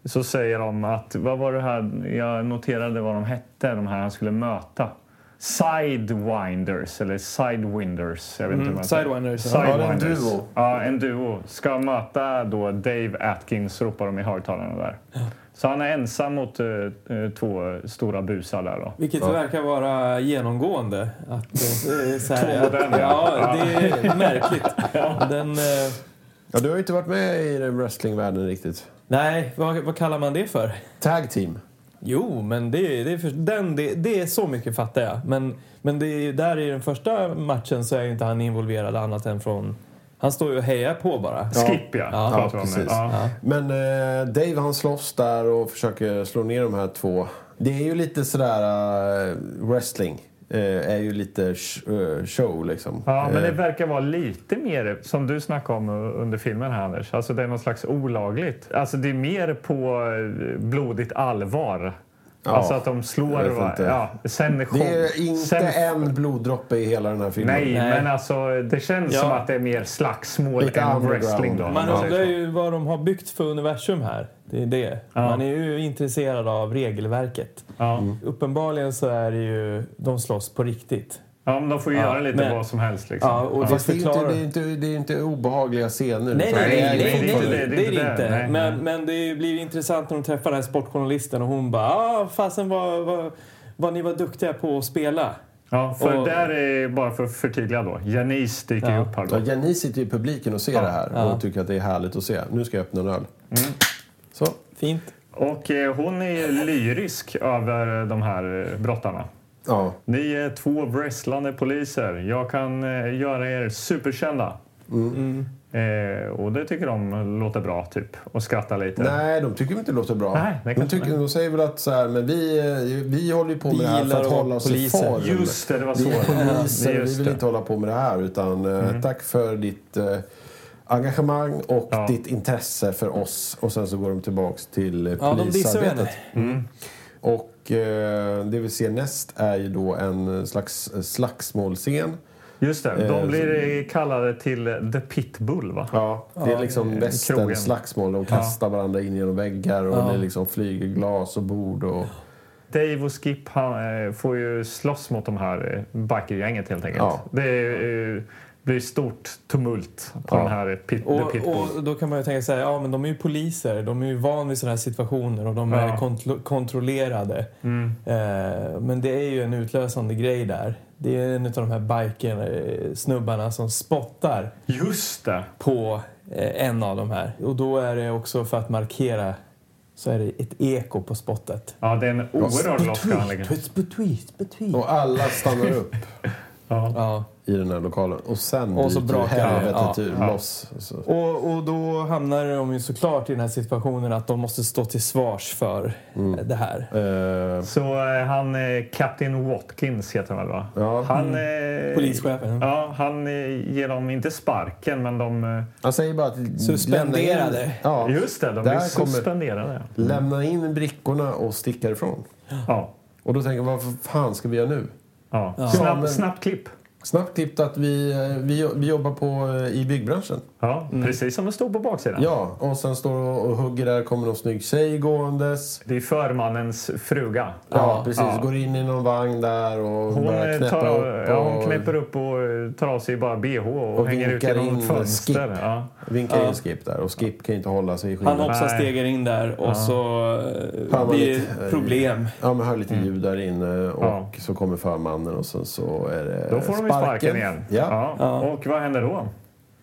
Speaker 2: så säger de att, vad var det här, jag noterade vad de hette, de här han skulle möta. Sidewinders, eller Sidewinders. Jag vet inte hur man säger.
Speaker 3: Mm, Sidewinders, ja.
Speaker 2: Sidewinders.
Speaker 1: Ja, det är en duo.
Speaker 2: Ja, en duo. Ska möta då Dave Atkins, ropar de i högtalarna där. Så han är ensam mot eh, eh, två stora busar där då.
Speaker 3: Vilket verkar vara genomgående. Att, eh, så
Speaker 2: <laughs>
Speaker 3: här,
Speaker 2: Två
Speaker 3: att,
Speaker 2: moderna.
Speaker 3: ja, det
Speaker 2: <laughs>
Speaker 3: är märkligt. Den, eh,
Speaker 1: Ja, du har ju inte varit med i wrestlingvärlden riktigt.
Speaker 3: nej, vad, vad kallar man det för?
Speaker 1: Tag team.
Speaker 3: Jo, men det, det, är för, den, det, det är så mycket fattar jag. Men, men det är, ju- där i den första matchen så är ju inte han involverad annat än från... Han står ju och hejar på bara.
Speaker 2: Skip ja,
Speaker 3: Ja,
Speaker 2: pratar vi om nu.
Speaker 1: precis.
Speaker 2: Ja.
Speaker 1: Men eh, Dave han slåss där och försöker slå ner de här två. Det är ju lite sådär... eh, wrestling eh, är ju lite sh- eh, show liksom.
Speaker 2: Ja, men det
Speaker 1: Eh,
Speaker 2: verkar vara lite mer, som du snackade om under filmen här Anders, alltså det är något slags olagligt. Alltså det är mer på eh, blodigt allvar. alltså att de slår
Speaker 1: jag vet
Speaker 2: och...
Speaker 1: inte.
Speaker 2: Ja, sen
Speaker 1: det är inte
Speaker 2: sen,
Speaker 1: en bloddroppe i hela den här filmen.
Speaker 2: Nej,
Speaker 3: Nej.
Speaker 2: men alltså det känns
Speaker 3: Ja.
Speaker 2: som att det är mer slagsmål
Speaker 1: Lite
Speaker 2: än
Speaker 1: underground.
Speaker 2: wrestling då. om
Speaker 3: Man
Speaker 2: man säger
Speaker 3: undrar
Speaker 2: så.
Speaker 3: ju vad de har byggt för universum här. Det är det. Man är ju intresserad av regelverket.
Speaker 2: Ja.
Speaker 3: Uppenbarligen så är det ju... De slåss på riktigt.
Speaker 2: ja, men de får ju göra lite
Speaker 3: men-
Speaker 2: vad som helst liksom.
Speaker 3: Ja, och det
Speaker 1: Fast det är, inte,
Speaker 3: förklarar...
Speaker 1: det, är inte, det är inte obehagliga scener.
Speaker 3: Nej,
Speaker 1: utan
Speaker 3: nej,
Speaker 1: det är
Speaker 3: nej,
Speaker 1: ju
Speaker 3: nej, nej,
Speaker 1: fortfarande-
Speaker 3: nej, det är det inte.
Speaker 2: Nej.
Speaker 3: Men, men det blir ju intressant när de träffar den här sportjournalisten och hon bara ah, fasen vad, vad, vad ni var duktiga på att spela.
Speaker 2: Ja, för
Speaker 3: Och-
Speaker 2: där är, bara för att förtydliga då, Janice dyker ju
Speaker 3: Ja.
Speaker 2: upp här då.
Speaker 1: Ja, Jenny sitter ju i publiken och ser det här och tycker att det är härligt att se. Nu ska jag öppna en öl.
Speaker 2: Mm.
Speaker 1: Så.
Speaker 3: Fint.
Speaker 2: Och eh, hon är ju lyrisk över de här eh, brottarna.
Speaker 1: Ja.
Speaker 2: Ni är två wrestlande poliser. Jag kan eh, göra er superkända.
Speaker 3: Mm.
Speaker 2: Eh, och det tycker de låter bra, typ. Och skrattar lite.
Speaker 1: Nej, de tycker inte det låter bra.
Speaker 2: Nej, det
Speaker 1: de,
Speaker 2: kanske
Speaker 1: tycker, de säger väl att så här, men vi, eh, vi håller ju på med
Speaker 3: Vi
Speaker 1: det här för
Speaker 3: gillar
Speaker 1: att
Speaker 3: att
Speaker 1: hålla
Speaker 3: vara
Speaker 1: oss i
Speaker 3: poliser.
Speaker 1: form.
Speaker 2: Just det, det var så.
Speaker 1: Vi är poliser,
Speaker 2: Ja,
Speaker 1: vi
Speaker 2: just
Speaker 1: vill
Speaker 2: det.
Speaker 1: inte hålla på med det här. Utan, eh, Tack för ditt eh, engagemang och
Speaker 2: Ja.
Speaker 1: ditt intresse för oss. Och sen så går de tillbaks till eh,
Speaker 3: Ja, de dissar ju
Speaker 1: polisarbetet.
Speaker 3: henne.
Speaker 1: och eh, det vi ser näst är ju då en slags eh, slagsmålscen.
Speaker 2: Just det,
Speaker 1: Eh,
Speaker 2: de blir eh, kallade till eh, The Pitbull, va?
Speaker 1: Ja, det är liksom
Speaker 2: eh,
Speaker 1: västerns
Speaker 2: krogen.
Speaker 1: slagsmål. De kastar varandra in genom väggar och det liksom flyger glas och bord. Och,
Speaker 2: Dave och Skip han, eh, får ju slåss mot de här eh, bikergänget, helt enkelt.
Speaker 1: Ja.
Speaker 2: Det eh, blir stort tumult på
Speaker 1: Ja.
Speaker 2: den här eh, pit, The
Speaker 3: Och,
Speaker 2: Pitbull.
Speaker 3: och då kan man ju tänka sig ja men de är ju poliser, de är ju van vid sådana här situationer och de
Speaker 2: Ja. Mm.
Speaker 3: är kontro- kontrollerade. Eh, men det är ju en utlösande grej där. Det är en av de här biker-snubbarna som spottar
Speaker 2: Just det!
Speaker 3: på eh, en av de här. Och då är det också för att markera så är det ett eko på spottet.
Speaker 2: Ja, det är en oerhörd loska han lägger.
Speaker 3: Tweet, tweet, tweet, tweet, tweet.
Speaker 1: och alla stannar
Speaker 2: <laughs>
Speaker 1: upp
Speaker 3: Ja.
Speaker 1: i den här lokalen. Och sen
Speaker 3: Och så
Speaker 1: bryter
Speaker 3: brakar det.
Speaker 1: helvetet
Speaker 3: Ja.
Speaker 1: ur loss. Alltså, Så.
Speaker 3: Och, och då hamnar de ju såklart i den här situationen att de måste stå till svars för eh, det här.
Speaker 1: Eh,
Speaker 2: Så eh, han, eh, Captain Watkins heter han väl va?
Speaker 1: Ja.
Speaker 2: Han, eh,
Speaker 3: Polischefen.
Speaker 2: Ja, han eh, ger dem inte sparken men de... eh,
Speaker 1: han säger bara att...
Speaker 3: Suspenderade.
Speaker 1: lämna in- Ja,
Speaker 2: Just det, de
Speaker 1: Där
Speaker 2: blir
Speaker 1: kommer-
Speaker 2: suspenderade.
Speaker 1: lämna in brickorna och sticka ifrån.
Speaker 2: Ja.
Speaker 1: Och då tänker jag, vad fan ska vi göra nu?
Speaker 2: Ja.
Speaker 1: Ja,
Speaker 2: Snabb,
Speaker 1: men-
Speaker 2: Snabbt klipp.
Speaker 1: Snabbt klippt att vi, eh, vi, vi jobbar på, eh, i byggbranschen.
Speaker 2: Ja, Precis som det står på baksidan.
Speaker 1: Ja, och sen står och, och hugger där, kommer någon snygg tjej gåendes.
Speaker 2: Det är förmannens fruga.
Speaker 1: Ja, precis. Går in i någon vagn där och
Speaker 2: Hon,
Speaker 1: börjar
Speaker 2: eh,
Speaker 1: knäppa
Speaker 2: tar,
Speaker 1: upp.
Speaker 2: ja,
Speaker 1: Och
Speaker 2: hon knäpper upp och eh, tar av sig bara bh och,
Speaker 1: Och
Speaker 2: hänger ut
Speaker 1: vinkar
Speaker 2: genom
Speaker 1: in
Speaker 2: ett fönster.
Speaker 1: skip.
Speaker 2: Ja.
Speaker 1: Vinkar in Skip där. Och Skip kan ju inte hålla sig i
Speaker 3: Han
Speaker 1: skinnet.
Speaker 3: hoppsar
Speaker 2: Nej.
Speaker 3: stegar in där och så
Speaker 1: Fan,
Speaker 3: eh,
Speaker 1: vad
Speaker 3: blir
Speaker 1: lite-
Speaker 3: det problem.
Speaker 1: Ja, men hör lite ljud där inne och
Speaker 2: Mm. Ja.
Speaker 1: så kommer förmannen och sen så är det
Speaker 2: Då får de ju sparken igen.
Speaker 1: Ja.
Speaker 2: Och vad händer då?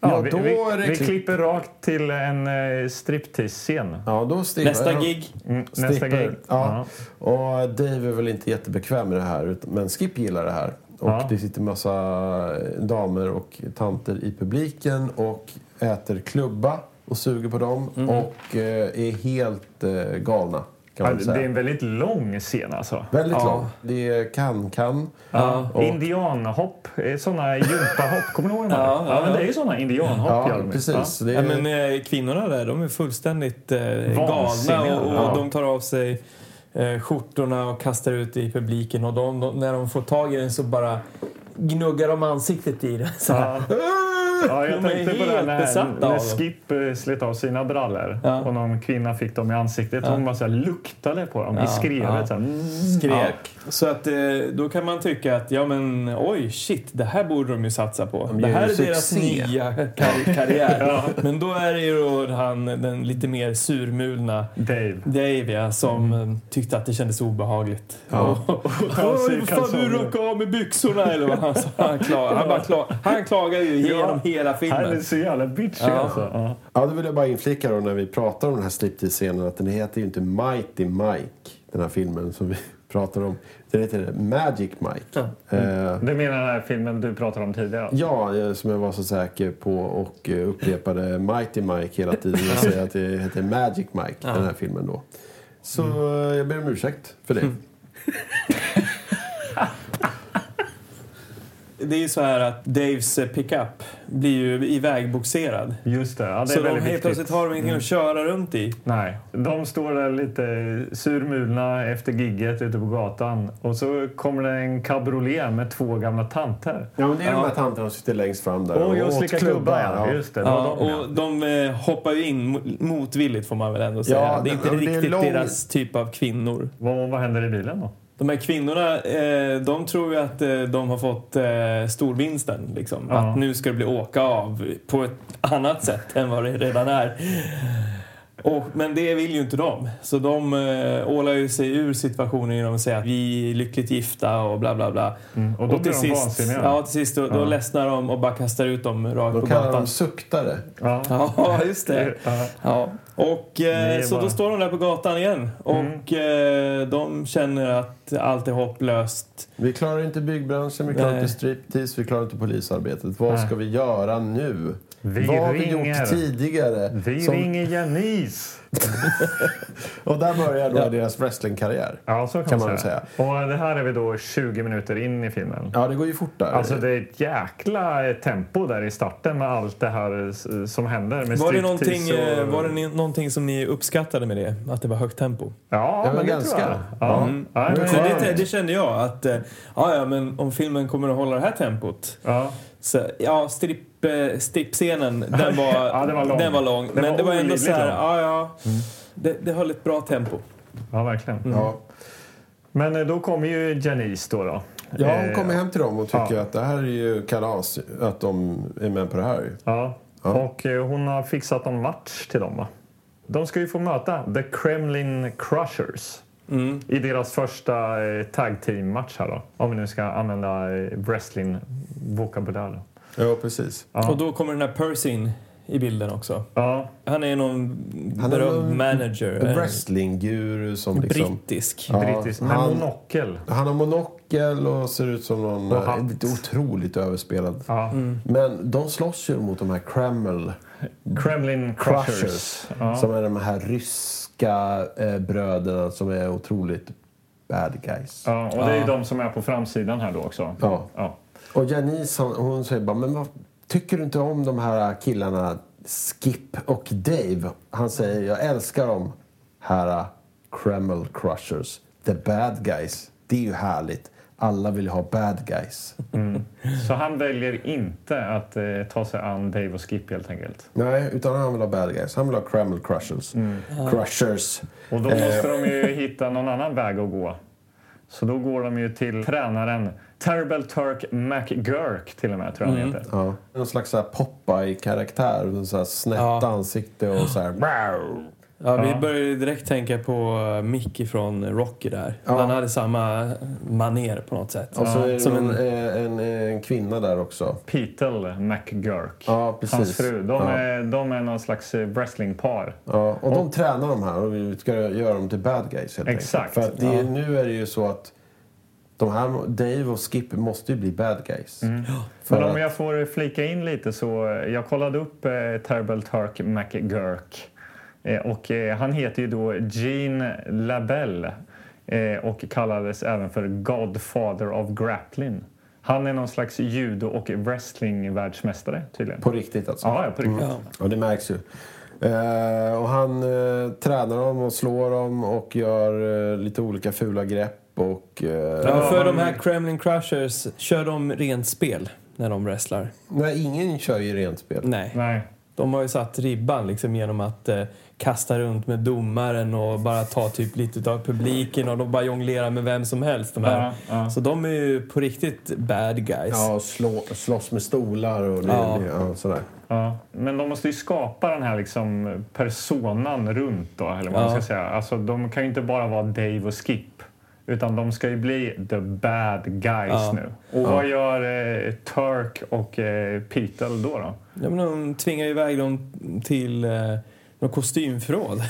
Speaker 1: Ja,
Speaker 2: vi,
Speaker 1: då
Speaker 2: vi,
Speaker 1: är det
Speaker 2: vi
Speaker 1: klipp.
Speaker 2: klipper rakt till en eh, striptease-scen.
Speaker 1: Ja, då stiger-
Speaker 3: Nästa gig.
Speaker 2: Mm, Nästa
Speaker 1: Stripper.
Speaker 2: grej.
Speaker 1: Ja. Och Dave är väl inte jättebekväm med det här, ut- men Skip gillar det här. Och
Speaker 2: Ja.
Speaker 1: det sitter massa damer och tanter i publiken och äter klubba och suger på dem
Speaker 3: Mm.
Speaker 1: och eh, är helt eh, galna, kan
Speaker 2: Ja,
Speaker 1: man
Speaker 2: det
Speaker 1: säga.
Speaker 2: är en väldigt lång scen alltså.
Speaker 1: Väldigt lång. Det är kan-kan.
Speaker 2: Och... Indianhopp, eh, såna jumpahopp. Kommer du ihåg de här?
Speaker 3: Ja,
Speaker 2: Ja,
Speaker 3: ja,
Speaker 2: men
Speaker 3: ja.
Speaker 2: det är ju såna indianhopp.
Speaker 1: Ja,
Speaker 2: Hjalmar.
Speaker 1: precis. Det
Speaker 3: Ja,
Speaker 1: är,
Speaker 3: men eh, kvinnorna där, de är fullständigt eh, galna
Speaker 2: Vansinniga.
Speaker 3: och, och
Speaker 2: Ja.
Speaker 3: de tar av sig eh, skjortorna och kastar ut det i publiken och de, de, när de får tag i den så bara gnuggar de ansiktet i den. Så här.
Speaker 2: Ja. Ja, jag
Speaker 3: De är
Speaker 2: tänkte på
Speaker 3: helt
Speaker 2: det när,
Speaker 3: besatta av
Speaker 2: när
Speaker 3: dem.
Speaker 2: Skip eh, slet av sina brallor
Speaker 3: Ja.
Speaker 2: och någon kvinna fick dem i ansiktet. Hon bara så här, luktade på dem i
Speaker 3: ja.
Speaker 2: skrevet. Så här, mm.
Speaker 3: Skrek. Så att eh, då kan man tycka att ja men oj shit, det här borde de ju satsa på. Det
Speaker 9: gör
Speaker 3: här
Speaker 9: ju
Speaker 3: är deras
Speaker 9: succé.
Speaker 3: nya
Speaker 2: <laughs>
Speaker 3: kar- karriär. Men då är det ju då han, den lite mer surmulna
Speaker 2: Dave. Mm.
Speaker 3: Dave ja, som eh, tyckte att det kändes obehagligt. Ja.
Speaker 2: <laughs>
Speaker 3: Och, och,
Speaker 2: Han ser
Speaker 3: "Oj, fan du
Speaker 2: kalsonger."
Speaker 3: råkade av med byxorna eller vad han sa. Han, klag, han, bara klag, han klagar ju genom hela
Speaker 2: Han är
Speaker 3: filmen.
Speaker 2: så jävla bitchig alltså. Ja.
Speaker 1: Ja, då vill jag bara inflicka då när vi pratar om den här striptease-scenen att den heter ju inte Mighty Mike, den här filmen som vi <laughs> pratar om. Den heter Magic Mike. Eh,
Speaker 2: Du menar den här filmen du pratade om tidigare? alltså?
Speaker 1: ja, eh, som jag var så säker på och eh, upprepade Mighty Mike hela tiden. Jag säger att det heter Magic Mike, den här filmen då. Så eh, jag ber om ursäkt för det.
Speaker 3: Det är ju så här att Daves eh, pickup blir ju ivägboxerad.
Speaker 2: Just det. Ja, det
Speaker 3: Så
Speaker 2: är
Speaker 3: de
Speaker 2: väldigt
Speaker 3: helt
Speaker 2: viktigt. Mm.
Speaker 3: plötsligt har de ingenting att köra runt i.
Speaker 2: Nej. De står där lite surmulna efter gigget ute på gatan och så kommer det en cabriolet med två gamla tanter.
Speaker 1: Ja, men det är de här tanterna som sitter längst fram där.
Speaker 2: Och jag
Speaker 1: åt
Speaker 2: slickar klubbar, ja. Just det, det
Speaker 3: Ja,
Speaker 2: var de, ja.
Speaker 3: och de eh, hoppar ju in mo- motvilligt får man väl ändå säga.
Speaker 1: Ja,
Speaker 3: det är inte
Speaker 1: men det är
Speaker 3: riktigt
Speaker 1: lång-
Speaker 3: deras typ av kvinnor.
Speaker 2: Vad, vad händer i bilen då?
Speaker 3: De här kvinnorna, eh, de tror ju att eh, de har fått eh, storvinsten. Liksom.
Speaker 2: Ja.
Speaker 3: Att nu ska det bli åka av på ett annat sätt än vad det redan är. Och, men det vill ju inte de. Så de eh, ålar ju sig ur situationen genom att säga att vi är lyckligt gifta och bla bla bla.
Speaker 2: och då blir de vansinniga.
Speaker 3: ja, till sist då, då ledsnar de och bara kastar ut dem rakt
Speaker 1: De
Speaker 3: på
Speaker 1: kallar
Speaker 3: gatan.
Speaker 1: dem suktare.
Speaker 2: Ja.
Speaker 3: <laughs> Ja, just det.
Speaker 2: Ja.
Speaker 3: Ja. Och, eh,
Speaker 2: är
Speaker 3: så
Speaker 2: bara- Mm.
Speaker 3: då står de där på gatan igen och eh, de känner att allt är hopplöst.
Speaker 1: Vi klarar inte byggbranschen, vi klarar
Speaker 3: Nej.
Speaker 1: inte striptease, vi klarar inte polisarbetet. Vad
Speaker 2: Nej.
Speaker 1: ska vi göra nu?
Speaker 2: Vi
Speaker 1: Vad har vi
Speaker 2: ringer.
Speaker 1: gjort tidigare?
Speaker 2: Vi
Speaker 1: som-
Speaker 2: ringer Janice!
Speaker 1: Och där börjar då deras wrestlingkarriär.
Speaker 2: Ja, så kan,
Speaker 1: Kan
Speaker 2: man,
Speaker 1: man
Speaker 2: säga. Och det här är vi då 20 minuter in i filmen.
Speaker 1: Ja, det går ju fort där.
Speaker 2: Alltså det är ett jäkla tempo där i starten med allt det här eh, som händer med
Speaker 3: Var det, någonting,
Speaker 2: striptease
Speaker 3: eh,
Speaker 2: och...
Speaker 3: var det ni- någonting som ni uppskattade med det? Att det var högt tempo?
Speaker 2: Ja,
Speaker 1: Ja,
Speaker 2: men det
Speaker 1: ganska.
Speaker 2: tror jag. Ja. Ja, men-
Speaker 3: Så det, det kände jag att, eh, ja, ja men om filmen kommer att hålla det här tempot.
Speaker 2: ja.
Speaker 3: Så, ja, stripp, eh, strippscenen, den var,
Speaker 2: <laughs> Ja, den var lång.
Speaker 3: Den var lång
Speaker 2: Den
Speaker 3: men
Speaker 2: var
Speaker 3: det var ändå
Speaker 2: olidligt
Speaker 3: så här,
Speaker 2: lång. Mm.
Speaker 3: ja, ja. Det, det höll ett bra tempo.
Speaker 2: ja, verkligen.
Speaker 1: Ja.
Speaker 2: Men eh, då kommer ju Janice då. då.
Speaker 1: Ja,
Speaker 2: Eh,
Speaker 1: hon kommer hem till dem och tycker
Speaker 2: ja.
Speaker 1: att det här är ju kalas, att de är med på det här.
Speaker 2: Ja. Och eh, hon har fixat någon match till dem va? De ska ju få möta The Kremlin Crushers.
Speaker 1: Mm.
Speaker 2: I deras första eh, tag team-match här då. Om vi nu ska använda eh, wrestling-vokabulären.
Speaker 1: Ja, precis.
Speaker 3: Och då kommer den här Percy in i bilden också.
Speaker 2: Ja,
Speaker 3: Han är någon
Speaker 1: Han är
Speaker 3: berömd
Speaker 1: någon
Speaker 3: manager.
Speaker 1: En
Speaker 3: eh,
Speaker 1: wrestlingguru som liksom...
Speaker 3: Brittisk.
Speaker 2: brittisk. Med
Speaker 1: han-
Speaker 2: monokel.
Speaker 1: Han har monokel och ser ut som någon...
Speaker 2: Och hatt.
Speaker 1: eh, Otroligt överspelad.
Speaker 2: Ja.
Speaker 1: Men de slåss ju mot de här Kreml
Speaker 2: Kremlin Crushers.
Speaker 1: Crushers.
Speaker 2: Ja.
Speaker 1: Som är de här ryska eh, bröderna som är otroligt bad guys.
Speaker 2: Ja, och det är ju de som är på framsidan här då också.
Speaker 1: Ja.
Speaker 2: Ja.
Speaker 1: Och Janice hon, hon säger bara, men vad, tycker du inte om de här killarna Skip och Dave? Han säger, jag älskar dem här eh, Kreml Crushers, the bad guys. Det är ju härligt. Alla vill ha bad guys.
Speaker 2: Mm. Så han väljer inte att eh, ta sig an Dave och Skip helt enkelt.
Speaker 1: Nej, utan han vill ha bad guys. Han vill ha Kreml Crushers. Crushers.
Speaker 2: Mm. Och då
Speaker 1: Eh.
Speaker 2: måste de ju hitta någon annan väg att gå. Så då går de ju till tränaren Terrible Turk McGurk till och med tror jag han heter.
Speaker 1: Ja. Någon slags så här Popeye-karaktär. med Så här snett
Speaker 3: Ja.
Speaker 1: ansikte och så här...
Speaker 3: Ja, vi började direkt tänka på Mickey från Rocky där. Han hade samma maner på något sätt.
Speaker 1: Och så är det
Speaker 3: Som
Speaker 1: någon,
Speaker 3: en,
Speaker 1: eh, en, eh, en kvinna där också.
Speaker 2: Petel McGurk.
Speaker 1: Ja, precis.
Speaker 2: Hans fru. De,
Speaker 1: Ja.
Speaker 2: är, de är någon slags eh, wrestlingpar.
Speaker 1: Ja, och de tränar de här och vi ska göra dem till bad guys helt
Speaker 2: Exakt.
Speaker 1: enkelt. För att det, är- nu är det ju så att de här, Dave och Skip måste ju bli bad guys. För
Speaker 2: Mm. Men om
Speaker 1: att-
Speaker 2: jag får flika in lite så eh, jag kollade upp eh, Terrible Turk McGurk eh, och eh, han heter ju då Gene Labelle eh, och kallades även för Godfather of Grappling. Han är någon slags judo och wrestlingvärldsmästare tydligen.
Speaker 1: På riktigt alltså.
Speaker 2: Ja, ja, på riktigt.
Speaker 1: Ja, det märks ju. Eh, och han eh, tränar dem och slår dem och gör eh, lite olika fula grepp och... Eh,
Speaker 3: ja, för de här Kremlin Crushers kör de rent spel. när de wrestlar.
Speaker 1: Nej, ingen kör ju rent spel.
Speaker 3: Nej.
Speaker 2: Nej.
Speaker 3: De har ju satt ribban liksom genom att eh, kasta runt med domaren och bara ta typ lite av publiken och de bara jonglerar med vem som helst. De här.
Speaker 2: Ja, ja.
Speaker 3: Så de är ju på riktigt bad guys.
Speaker 1: Ja, och slå, slåss med stolar och det,
Speaker 3: Ja.
Speaker 1: ja. sådär.
Speaker 2: Ja. Men de måste ju skapa den här liksom personan runt då, eller vad man
Speaker 3: Ja.
Speaker 2: ska säga. Alltså, de kan ju inte bara vara Dave och Skip. Utan de ska ju bli the bad guys
Speaker 3: Ja.
Speaker 2: nu. Och vad gör eh, Turk och eh, Petel då? då?
Speaker 3: Ja, men de tvingar ju iväg dem till eh,
Speaker 2: <laughs>
Speaker 3: något kostymförråd.